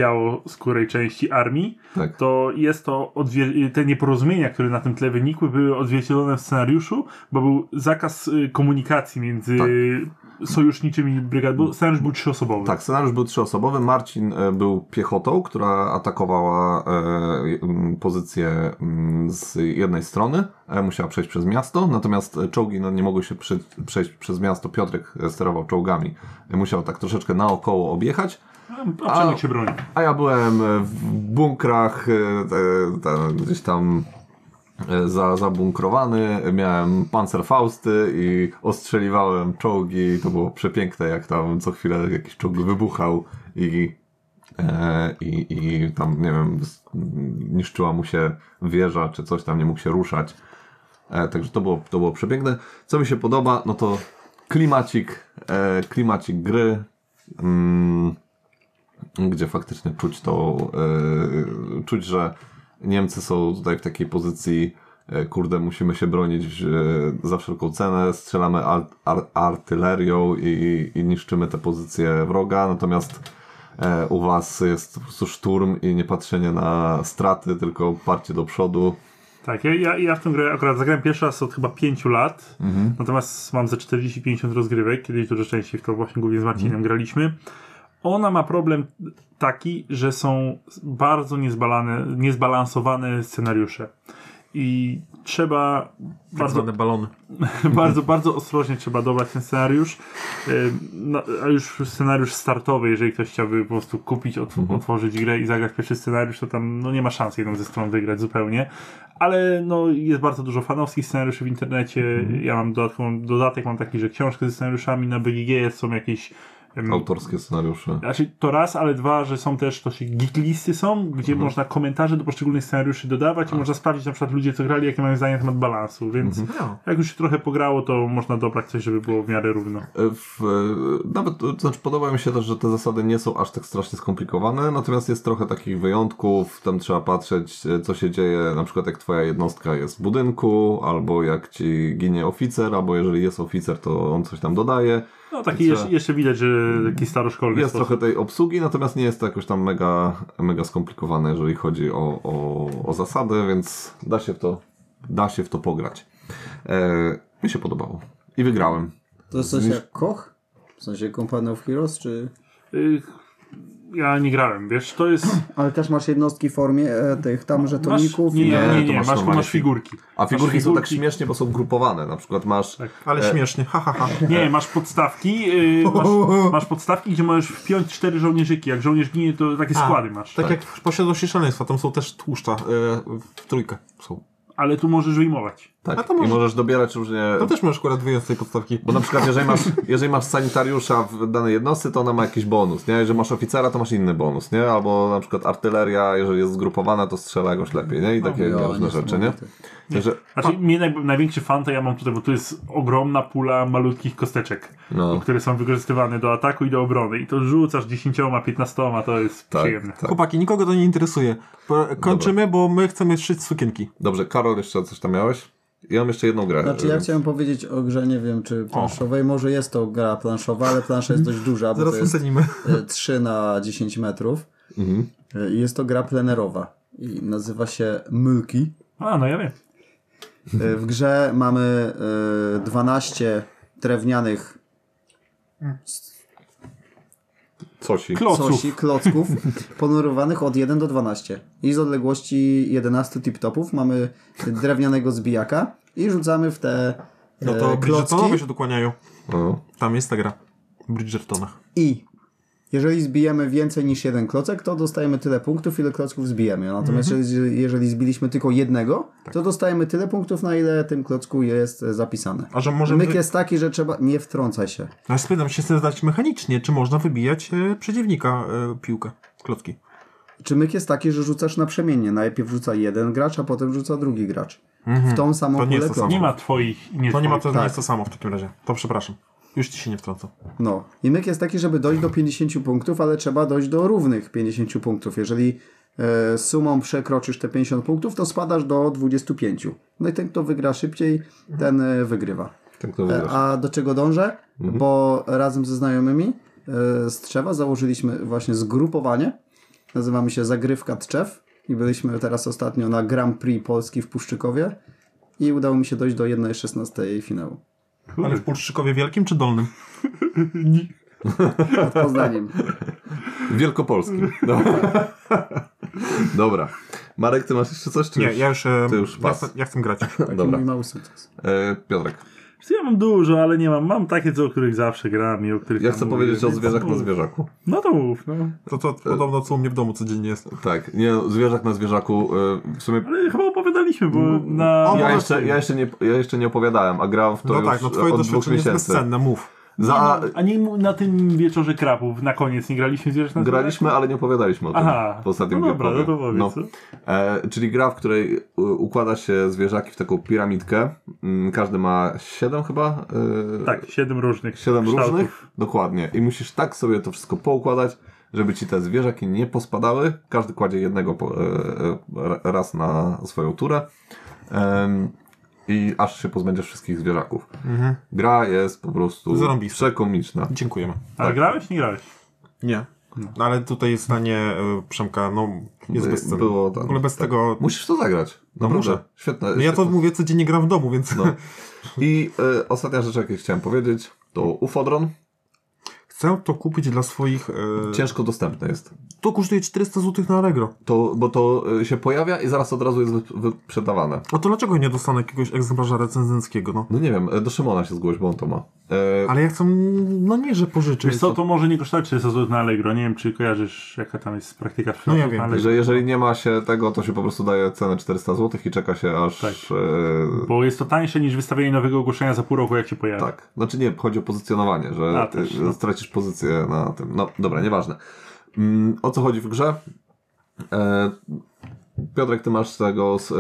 Speaker 3: białoskórej części armii,
Speaker 2: Tak.
Speaker 3: to jest to, odzwie- te nieporozumienia, które na tym tle wynikły, były odzwierciedlone w scenariuszu, bo był zakaz y, komunikacji między sojuszniczymi brygad, bo scenariusz był trzyosobowy.
Speaker 2: Tak, scenariusz był trzyosobowy. Marcin e, był piechotą, która atakowała e, m, pozycję m, z jednej strony. E, musiała przejść przez miasto, natomiast e, czołgi no, nie mogły się przy, przejść przez miasto. Piotrek e, sterował czołgami. E, musiał tak troszeczkę naokoło objechać.
Speaker 3: A- A Przemek się broni.
Speaker 2: A ja byłem e, w bunkrach, e, e, ten, gdzieś tam e, za, zabunkrowany, miałem pancerfausty i ostrzeliwałem czołgi. To było przepiękne, jak tam co chwilę jakiś czołg wybuchał i, e, i, i tam, nie wiem, s- niszczyła mu się wieża czy coś tam, nie mógł się ruszać. E, także to było, to było przepiękne. Co mi się podoba, no to klimacik, e, klimacik gry. Mm, gdzie faktycznie czuć to, e, czuć, że Niemcy są tutaj w takiej pozycji, e, kurde, musimy się bronić e, za wszelką cenę, strzelamy ar, ar, artylerią i, i niszczymy te pozycje wroga, natomiast e, u was jest po prostu szturm i nie patrzenie na straty, tylko parcie do przodu.
Speaker 3: Tak, ja, ja, ja w tę grę akurat zagrałem pierwszy raz od chyba 5 lat, natomiast mam ze 40-50 rozgrywek, kiedyś dużo częściej w to właśnie głównie z Marcinem graliśmy. Ona ma problem taki, że są bardzo niezbalane, niezbalansowane scenariusze. I trzeba
Speaker 4: Tak
Speaker 3: bardzo,
Speaker 4: zwane balony.
Speaker 3: (laughs) bardzo, bardzo ostrożnie trzeba dobrać ten scenariusz. Ym, No, a już scenariusz startowy, jeżeli ktoś chciałby po prostu kupić, otw- otworzyć grę i zagrać pierwszy scenariusz, to tam no, nie ma szans jedną ze stron wygrać zupełnie. Ale no, jest bardzo dużo fanowskich scenariuszy w internecie. Ja mam dodatkową, dodatek mam taki, że książkę ze scenariuszami na BGG są jakieś ym,
Speaker 2: Autorskie scenariusze.
Speaker 3: znaczy to raz, ale dwa, że są też to się geeklisty są, gdzie
Speaker 2: Mhm.
Speaker 3: można komentarze do poszczególnych scenariuszy
Speaker 2: Tak.
Speaker 3: dodawać i można sprawdzić na przykład ludzie co grali, jakie mają zdanie na temat balansu, więc
Speaker 2: Mhm.
Speaker 4: No.
Speaker 3: jak już się trochę pograło, to można dobrać coś, żeby było w miarę równo.
Speaker 2: w, e, nawet, e, to znaczy podoba mi się też, że te zasady nie są aż tak strasznie skomplikowane, natomiast jest trochę takich wyjątków, tam trzeba patrzeć, e, co się dzieje, na przykład jak twoja jednostka jest w budynku, albo jak ci ginie oficer, albo jeżeli jest oficer, to on coś tam dodaje.
Speaker 3: No taki
Speaker 2: Co?
Speaker 3: jeszcze, jeszcze widać, że taki staroszkolny
Speaker 2: Jest
Speaker 3: sposób.
Speaker 2: trochę tej obsługi, natomiast nie jest to jakoś tam mega, mega skomplikowane, jeżeli chodzi o, o, o zasady, więc da się w to, da się w to pograć. E, mi się podobało. I wygrałem.
Speaker 1: To jest coś jak Koch? W sensie Company of Heroes, czy...
Speaker 3: Y, Ja nie grałem, wiesz, to jest...
Speaker 1: Ale też masz jednostki w formie e, tych tam
Speaker 3: Masz,
Speaker 1: żetoników.
Speaker 3: nie, nie,
Speaker 2: Nie, to
Speaker 3: nie, nie,
Speaker 2: masz
Speaker 3: masz, masz,
Speaker 2: normalnie
Speaker 3: figurki.
Speaker 2: A
Speaker 3: Masz
Speaker 2: figurki Tak. są tak śmiesznie, bo są grupowane. Na przykład masz
Speaker 4: Ale śmiesznie, ha, ha, ha.
Speaker 3: Nie, masz podstawki, y,
Speaker 2: (laughs)
Speaker 3: masz, masz podstawki, gdzie możesz wpiąć cztery żołnierzyki. Jak żołnierz ginie, to takie składy masz.
Speaker 4: Tak, jak w posiadłości szaleństwa, tam są też tłuszcza, e, w trójkę są.
Speaker 3: Ale tu możesz wyjmować.
Speaker 4: A
Speaker 2: E, Tak.
Speaker 4: to może-
Speaker 2: I możesz dobierać różnie.
Speaker 4: To też możesz akurat wyjąć z tej podstawki.
Speaker 2: Bo na przykład, jeżeli masz, jeżeli masz sanitariusza w danej jednostce, to ona ma jakiś bonus, nie? Jeżeli masz oficera, to masz inny bonus, nie? Albo na przykład artyleria, jeżeli jest zgrupowana, to strzela jakoś lepiej, nie? I takie
Speaker 1: ja,
Speaker 2: różne rzeczy, nie?
Speaker 1: No, niesamowite.
Speaker 2: Także,
Speaker 3: Znaczy, mnie naj, największy fan to ja mam tutaj, bo tu jest ogromna pula malutkich kosteczek,
Speaker 2: no,
Speaker 3: które są wykorzystywane do ataku i do obrony. I to rzucasz 10, 15, to jest
Speaker 2: tak,
Speaker 3: przyjemne.
Speaker 2: tak.
Speaker 4: Chłopaki, nikogo to nie interesuje. Po- Kończymy, bo my chcemy szyć sukienki.
Speaker 2: Dobrze, Karol, jeszcze coś tam miałeś? Ja mam jeszcze jedną grę.
Speaker 1: Znaczy ja
Speaker 2: więc-
Speaker 1: chciałem powiedzieć o grze, nie wiem czy planszowej, może jest to gra planszowa, ale plansza jest dość duża, bo to
Speaker 4: Zaraz
Speaker 1: jest
Speaker 4: ocenimy.
Speaker 1: e, 3 na 10 metrów. E, Jest to gra plenerowa i nazywa się Mylki.
Speaker 3: A, no ja wiem.
Speaker 1: E, W grze mamy e, 12 drewnianych
Speaker 2: Cosi.
Speaker 3: Kloców.
Speaker 1: cosi,
Speaker 4: (laughs)
Speaker 1: klocków, ponumerowanych od 1 do 12. I z odległości 11 tip-topów mamy drewnianego zbijaka i rzucamy w te
Speaker 4: No to
Speaker 1: e, klocki.
Speaker 4: Bridgertonowie się dokłaniają.
Speaker 2: No.
Speaker 4: Tam jest ta gra. W Bridgertonach.
Speaker 1: I jeżeli zbijemy więcej niż jeden klocek, to dostajemy tyle punktów, ile klocków zbijemy. No, Natomiast
Speaker 4: Mhm.
Speaker 1: jeżeli, jeżeli zbiliśmy tylko jednego, to dostajemy tyle punktów, na ile tym klocku jest e, zapisane.
Speaker 4: A że możemy-
Speaker 1: Myk jest taki, że trzeba... Nie wtrącaj się.
Speaker 4: No ja spytam się, chcę zdać mechanicznie, czy można wybijać e, przeciwnika e, piłkę, klocki.
Speaker 1: Czy myk jest taki, że rzucasz naprzemiennie? Najpierw rzuca jeden gracz, a potem rzuca drugi gracz. W tą samą
Speaker 4: Mhm. To
Speaker 1: kulę
Speaker 4: nie jest to samo.
Speaker 1: klocków.
Speaker 3: Nie ma twoich i nie
Speaker 4: To nie ma to,
Speaker 2: Tak.
Speaker 3: twoich.
Speaker 4: nie jest to samo w takim razie. To przepraszam. Już ci się nie wtrącę.
Speaker 1: No. I myk jest taki, żeby dojść do 50 punktów, ale trzeba dojść do równych 50 punktów. Jeżeli e, sumą przekroczysz te 50 punktów, to spadasz do 25. No i ten, kto wygra szybciej, ten e, wygrywa.
Speaker 2: Tak to
Speaker 1: E,
Speaker 2: wygrasz.
Speaker 1: a do czego dążę? Bo razem ze znajomymi e, z Trzewa założyliśmy właśnie zgrupowanie. Nazywamy się Zagrywka Trzew i byliśmy teraz ostatnio na Grand Prix Polski w Puszczykowie i udało mi się dojść do 1.16 finału.
Speaker 4: Ale w Pulszczykowie Wielkim czy Dolnym?
Speaker 1: Pod Poznaniem. (laughs)
Speaker 2: Wielkopolskim. No. Dobra. Marek, ty masz jeszcze coś? Czy
Speaker 4: Nie,
Speaker 2: już?
Speaker 4: ja już... E,
Speaker 2: to już
Speaker 4: ja,
Speaker 2: pas.
Speaker 4: chcę, ja
Speaker 2: (laughs)
Speaker 4: chcę grać.
Speaker 1: Taki
Speaker 2: Dobra.
Speaker 1: mój mały sukces.
Speaker 2: E, Piotrek,
Speaker 3: Ja mam dużo, ale nie mam. Mam takie, co, o których zawsze gram i o których
Speaker 2: ja
Speaker 3: tam
Speaker 2: chcę
Speaker 3: mówię.
Speaker 2: powiedzieć o
Speaker 3: Więc
Speaker 2: zwierzak na
Speaker 3: mów.
Speaker 2: zwierzaku.
Speaker 3: No to mów, no.
Speaker 4: To, to podobno co u mnie w domu codziennie jest.
Speaker 2: Tak, nie, zwierzak na zwierzaku. e, W sumie
Speaker 3: Ale chyba opowiadaliśmy, bo
Speaker 2: Mm.
Speaker 3: na...
Speaker 4: O,
Speaker 2: ja
Speaker 4: bo-
Speaker 2: jeszcze, ja, jeszcze nie, ja jeszcze nie opowiadałem, a grałem w to
Speaker 4: No
Speaker 2: już
Speaker 4: tak, no twoje
Speaker 2: od dwóch
Speaker 4: doświadczenie jest
Speaker 2: miesięcy.
Speaker 4: bezcenne, mów.
Speaker 2: Za,
Speaker 3: Ani na tym wieczorze krapów na koniec nie graliśmy zwierzę na
Speaker 2: y, graliśmy, ale nie opowiadaliśmy o tym
Speaker 3: no, Aha.
Speaker 2: w ostatnim
Speaker 3: No dobra,
Speaker 2: Gearboxie.
Speaker 3: no to powiedz, co?
Speaker 2: E, czyli gra, w której y, układa się zwierzaki w taką piramidkę. Mm, Każdy ma siedem chyba. y,
Speaker 3: Tak, siedem różnych
Speaker 2: Siedem
Speaker 3: kształtów.
Speaker 2: różnych? Dokładnie. I musisz tak sobie to wszystko poukładać, żeby ci te zwierzaki nie pospadały. Każdy kładzie jednego po, e, e, raz na swoją turę. Em, I aż się pozbędziesz wszystkich zwierzaków. Gra jest po prostu
Speaker 4: Mhm. Zarąbista.
Speaker 2: przekomiczna.
Speaker 4: Dziękujemy.
Speaker 3: Ale
Speaker 2: Tak.
Speaker 3: grałeś? Nie grałeś.
Speaker 4: Nie. No, ale tutaj jest zdanie e, Przemka, no jest
Speaker 2: By-
Speaker 4: bezcenne.
Speaker 2: było
Speaker 4: w
Speaker 2: tak,
Speaker 4: ogóle bez
Speaker 2: tak.
Speaker 4: tego...
Speaker 2: Musisz to zagrać. Naprawdę.
Speaker 4: muszę.
Speaker 2: Świetne.
Speaker 4: No ja to
Speaker 2: świetne.
Speaker 4: mówię codziennie gram w domu, więc...
Speaker 2: No. I e, ostatnia rzecz, jakiej chciałem powiedzieć, to Ufodron.
Speaker 4: (laughs) Chcę to kupić dla swoich... E...
Speaker 2: Ciężko dostępny jest.
Speaker 4: To kosztuje 400 zł na Allegro.
Speaker 2: To, bo to e, się pojawia i zaraz od razu jest wy- wyprzedawane.
Speaker 4: No to dlaczego nie dostanę jakiegoś egzemplarza recenzenckiego, no?
Speaker 2: No nie wiem, e, do Szymona się zgłoś, bo on to ma. E,
Speaker 4: Ale ja chcę, no nie, że pożyczyć.
Speaker 3: Wiesz co, to może nie kosztować 300 zł na Allegro. Nie wiem, czy kojarzysz, jaka tam jest praktyka
Speaker 4: No ja
Speaker 3: sprzedaży
Speaker 4: wiem,
Speaker 3: na Allegro.
Speaker 2: Że jeżeli nie ma się tego, to się po prostu daje cenę 400 zł i czeka się aż.
Speaker 3: Tak.
Speaker 2: Tak.
Speaker 3: Bo jest to tańsze niż wystawienie nowego ogłoszenia za pół roku, jak się pojawi.
Speaker 2: tak. Znaczy nie, chodzi o pozycjonowanie, że
Speaker 3: A,
Speaker 2: ty
Speaker 3: też, no.
Speaker 2: stracisz pozycję na tym. No dobra, nieważne. Mm, o co chodzi w grze? E, Piotrek, ty masz tego z, e,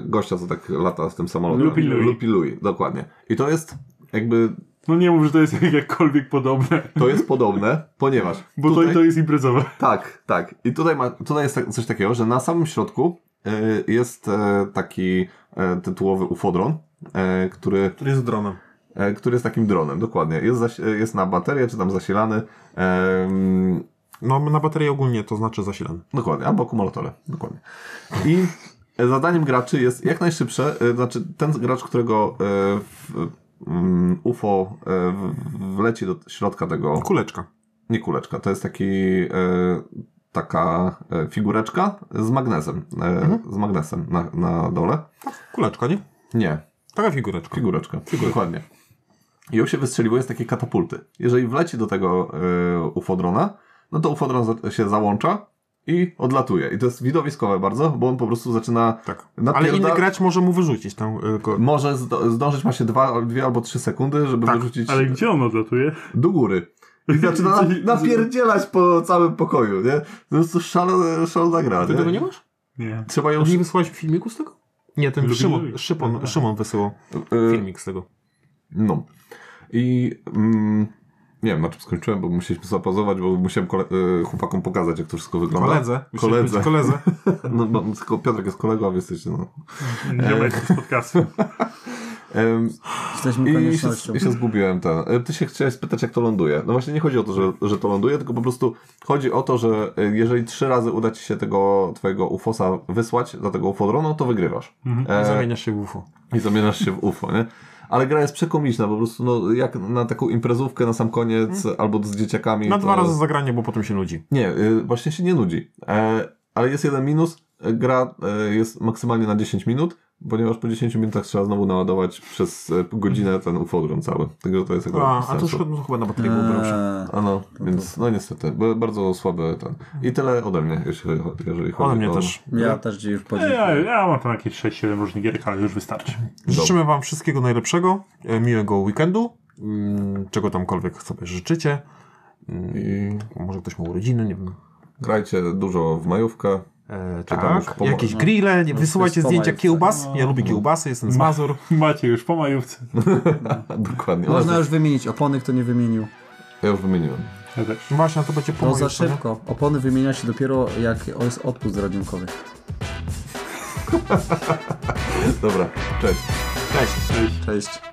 Speaker 2: gościa, co tak lata z tym samolotem.
Speaker 3: Lupi Lui.
Speaker 2: Lupi Lui, dokładnie. I to jest jakby.
Speaker 3: No nie mów, że to jest (laughs) jakkolwiek podobne,
Speaker 2: To
Speaker 3: (laughs)
Speaker 2: jest podobne, ponieważ.
Speaker 3: bo to i to jest imprezowe.
Speaker 2: Tak, tak. I tutaj, ma, tutaj jest tak- coś takiego, że na samym środku e, jest e, taki e, tytułowy ufodron, e, który,
Speaker 4: Który jest dronem.
Speaker 2: e, który jest takim dronem, dokładnie. Jest, zasi- e, jest na baterię, czy tam zasilany. e, mm,
Speaker 4: No na baterię ogólnie to znaczy zasilany.
Speaker 2: Dokładnie, albo akumulatorem. Dokładnie. I zadaniem graczy jest jak najszybsze, y, znaczy ten gracz, którego y, w, mm, UFO y, w- wleci do środka tego.
Speaker 4: Kuleczka.
Speaker 2: Nie kuleczka, to jest taki. y, Taka y, figureczka z magnesem. y,
Speaker 4: Mhm.
Speaker 2: Z magnesem na, na dole.
Speaker 4: Kuleczka, nie?
Speaker 2: Nie,
Speaker 4: Taka figureczka.
Speaker 2: Figureczkę. Dokładnie. I ją się wystrzeliwuje z takiej e, katapulty. Jeżeli wleci do tego y, ufodrona, no to ufodron za- się załącza i odlatuje. I to jest widowiskowe bardzo, bo on po prostu zaczyna
Speaker 4: Tak. Ale
Speaker 2: napierda-
Speaker 4: inny gracz może mu wyrzucić tam y, ko-
Speaker 2: Może zdo- zdążyć ma się dwa, dwie albo trzy sekundy, żeby
Speaker 4: Tak,
Speaker 2: wyrzucić
Speaker 3: Ale gdzie on odlatuje?
Speaker 2: do góry.
Speaker 4: (laughs)
Speaker 2: I zaczyna
Speaker 3: (laughs)
Speaker 2: na- napierdzielać po całym pokoju, nie? To jest to szalona, szalona gra,
Speaker 4: Ty tego nie
Speaker 2: nie?
Speaker 4: masz?
Speaker 3: Nie.
Speaker 2: Trzeba ją...
Speaker 4: Już... e, Nie wysłałeś filmiku z tego? Nie, ten
Speaker 3: Lubię
Speaker 4: Szymon,
Speaker 3: mówić.
Speaker 4: Szymon,
Speaker 3: Aha.
Speaker 4: Szymon wysyłał
Speaker 2: e,
Speaker 4: filmik z tego.
Speaker 2: No. I mm, nie wiem, na czym skończyłem, bo musieliśmy zapauzować, bo musiałem kole- e, chłopakom pokazać, jak to wszystko wygląda.
Speaker 4: Koledze.
Speaker 2: Koledze.
Speaker 4: Koledze.
Speaker 2: (laughs) No, bo, tylko Piotrek jest kolegą, a wy jesteście, no.
Speaker 3: Ziomek z podcastu.
Speaker 2: Em,
Speaker 1: Jesteśmy
Speaker 2: I się,
Speaker 1: koniecznością.
Speaker 2: I się zgubiłem ten. E, Ty się chciałeś spytać, jak to ląduje. No właśnie nie chodzi o to, że, że to ląduje, tylko po prostu chodzi o to, że e, jeżeli trzy razy uda ci się tego twojego ufosa wysłać do tego ufodronu, to wygrywasz.
Speaker 4: Mhm.
Speaker 2: E,
Speaker 4: Zamienia się w UFO.
Speaker 2: I zamieniasz się w UFO, nie? Ale gra jest przekomiczna, po prostu no, jak na taką imprezówkę na sam koniec albo z dzieciakami.
Speaker 4: Mhm. Na
Speaker 2: to-
Speaker 4: dwa razy zagranie, bo potem się nudzi.
Speaker 2: Nie, y, właśnie się nie nudzi. E, ale jest jeden minus. E, Gra e, jest maksymalnie na 10 minut, ponieważ po 10 minutach trzeba znowu naładować przez e, godzinę ten ufodron cały. Także to jest jakby
Speaker 4: Mhm. A, a
Speaker 2: sensu.
Speaker 4: to już chyba- no chyba na baterii było dobrze.
Speaker 1: Eee,
Speaker 2: A no, więc no niestety, bo bardzo słaby ten. I tyle ode mnie, jeśli, jeżeli chodzi
Speaker 4: Ode mnie
Speaker 2: o...
Speaker 4: też.
Speaker 1: ja też już
Speaker 3: Ja,
Speaker 1: podziękuję.
Speaker 3: ja mam tam jakieś 6-7 różnych gierek, ale już wystarczy.
Speaker 4: Życzymy Wam wszystkiego najlepszego, e, miłego weekendu, mm, czego tamkolwiek sobie życzycie. Mm,
Speaker 2: I
Speaker 4: Może ktoś ma urodziny, nie wiem.
Speaker 2: grajcie dużo w majówkę. (laughs)
Speaker 4: E,
Speaker 2: Czy tam już
Speaker 4: tak,
Speaker 2: pomo-
Speaker 4: jakieś grille, nie, wysyłajcie
Speaker 1: jest po
Speaker 4: zdjęcia
Speaker 1: majówce.
Speaker 4: kiełbas. Ja lubię kiełbasy, jestem z Mazur.
Speaker 3: Macie już po majówce.
Speaker 2: No. Dokładnie.
Speaker 1: Można
Speaker 2: Można...
Speaker 1: już wymienić, opony kto nie wymienił.
Speaker 2: Ja już wymieniłem.
Speaker 3: Ja też.
Speaker 4: Właśnie, to będzie po
Speaker 1: To No za
Speaker 4: majówce, nie?
Speaker 1: szybko. Opony wymienia się dopiero jak jest odpust radiunkowy.
Speaker 2: Dobra, cześć.
Speaker 4: Cześć.
Speaker 1: Cześć.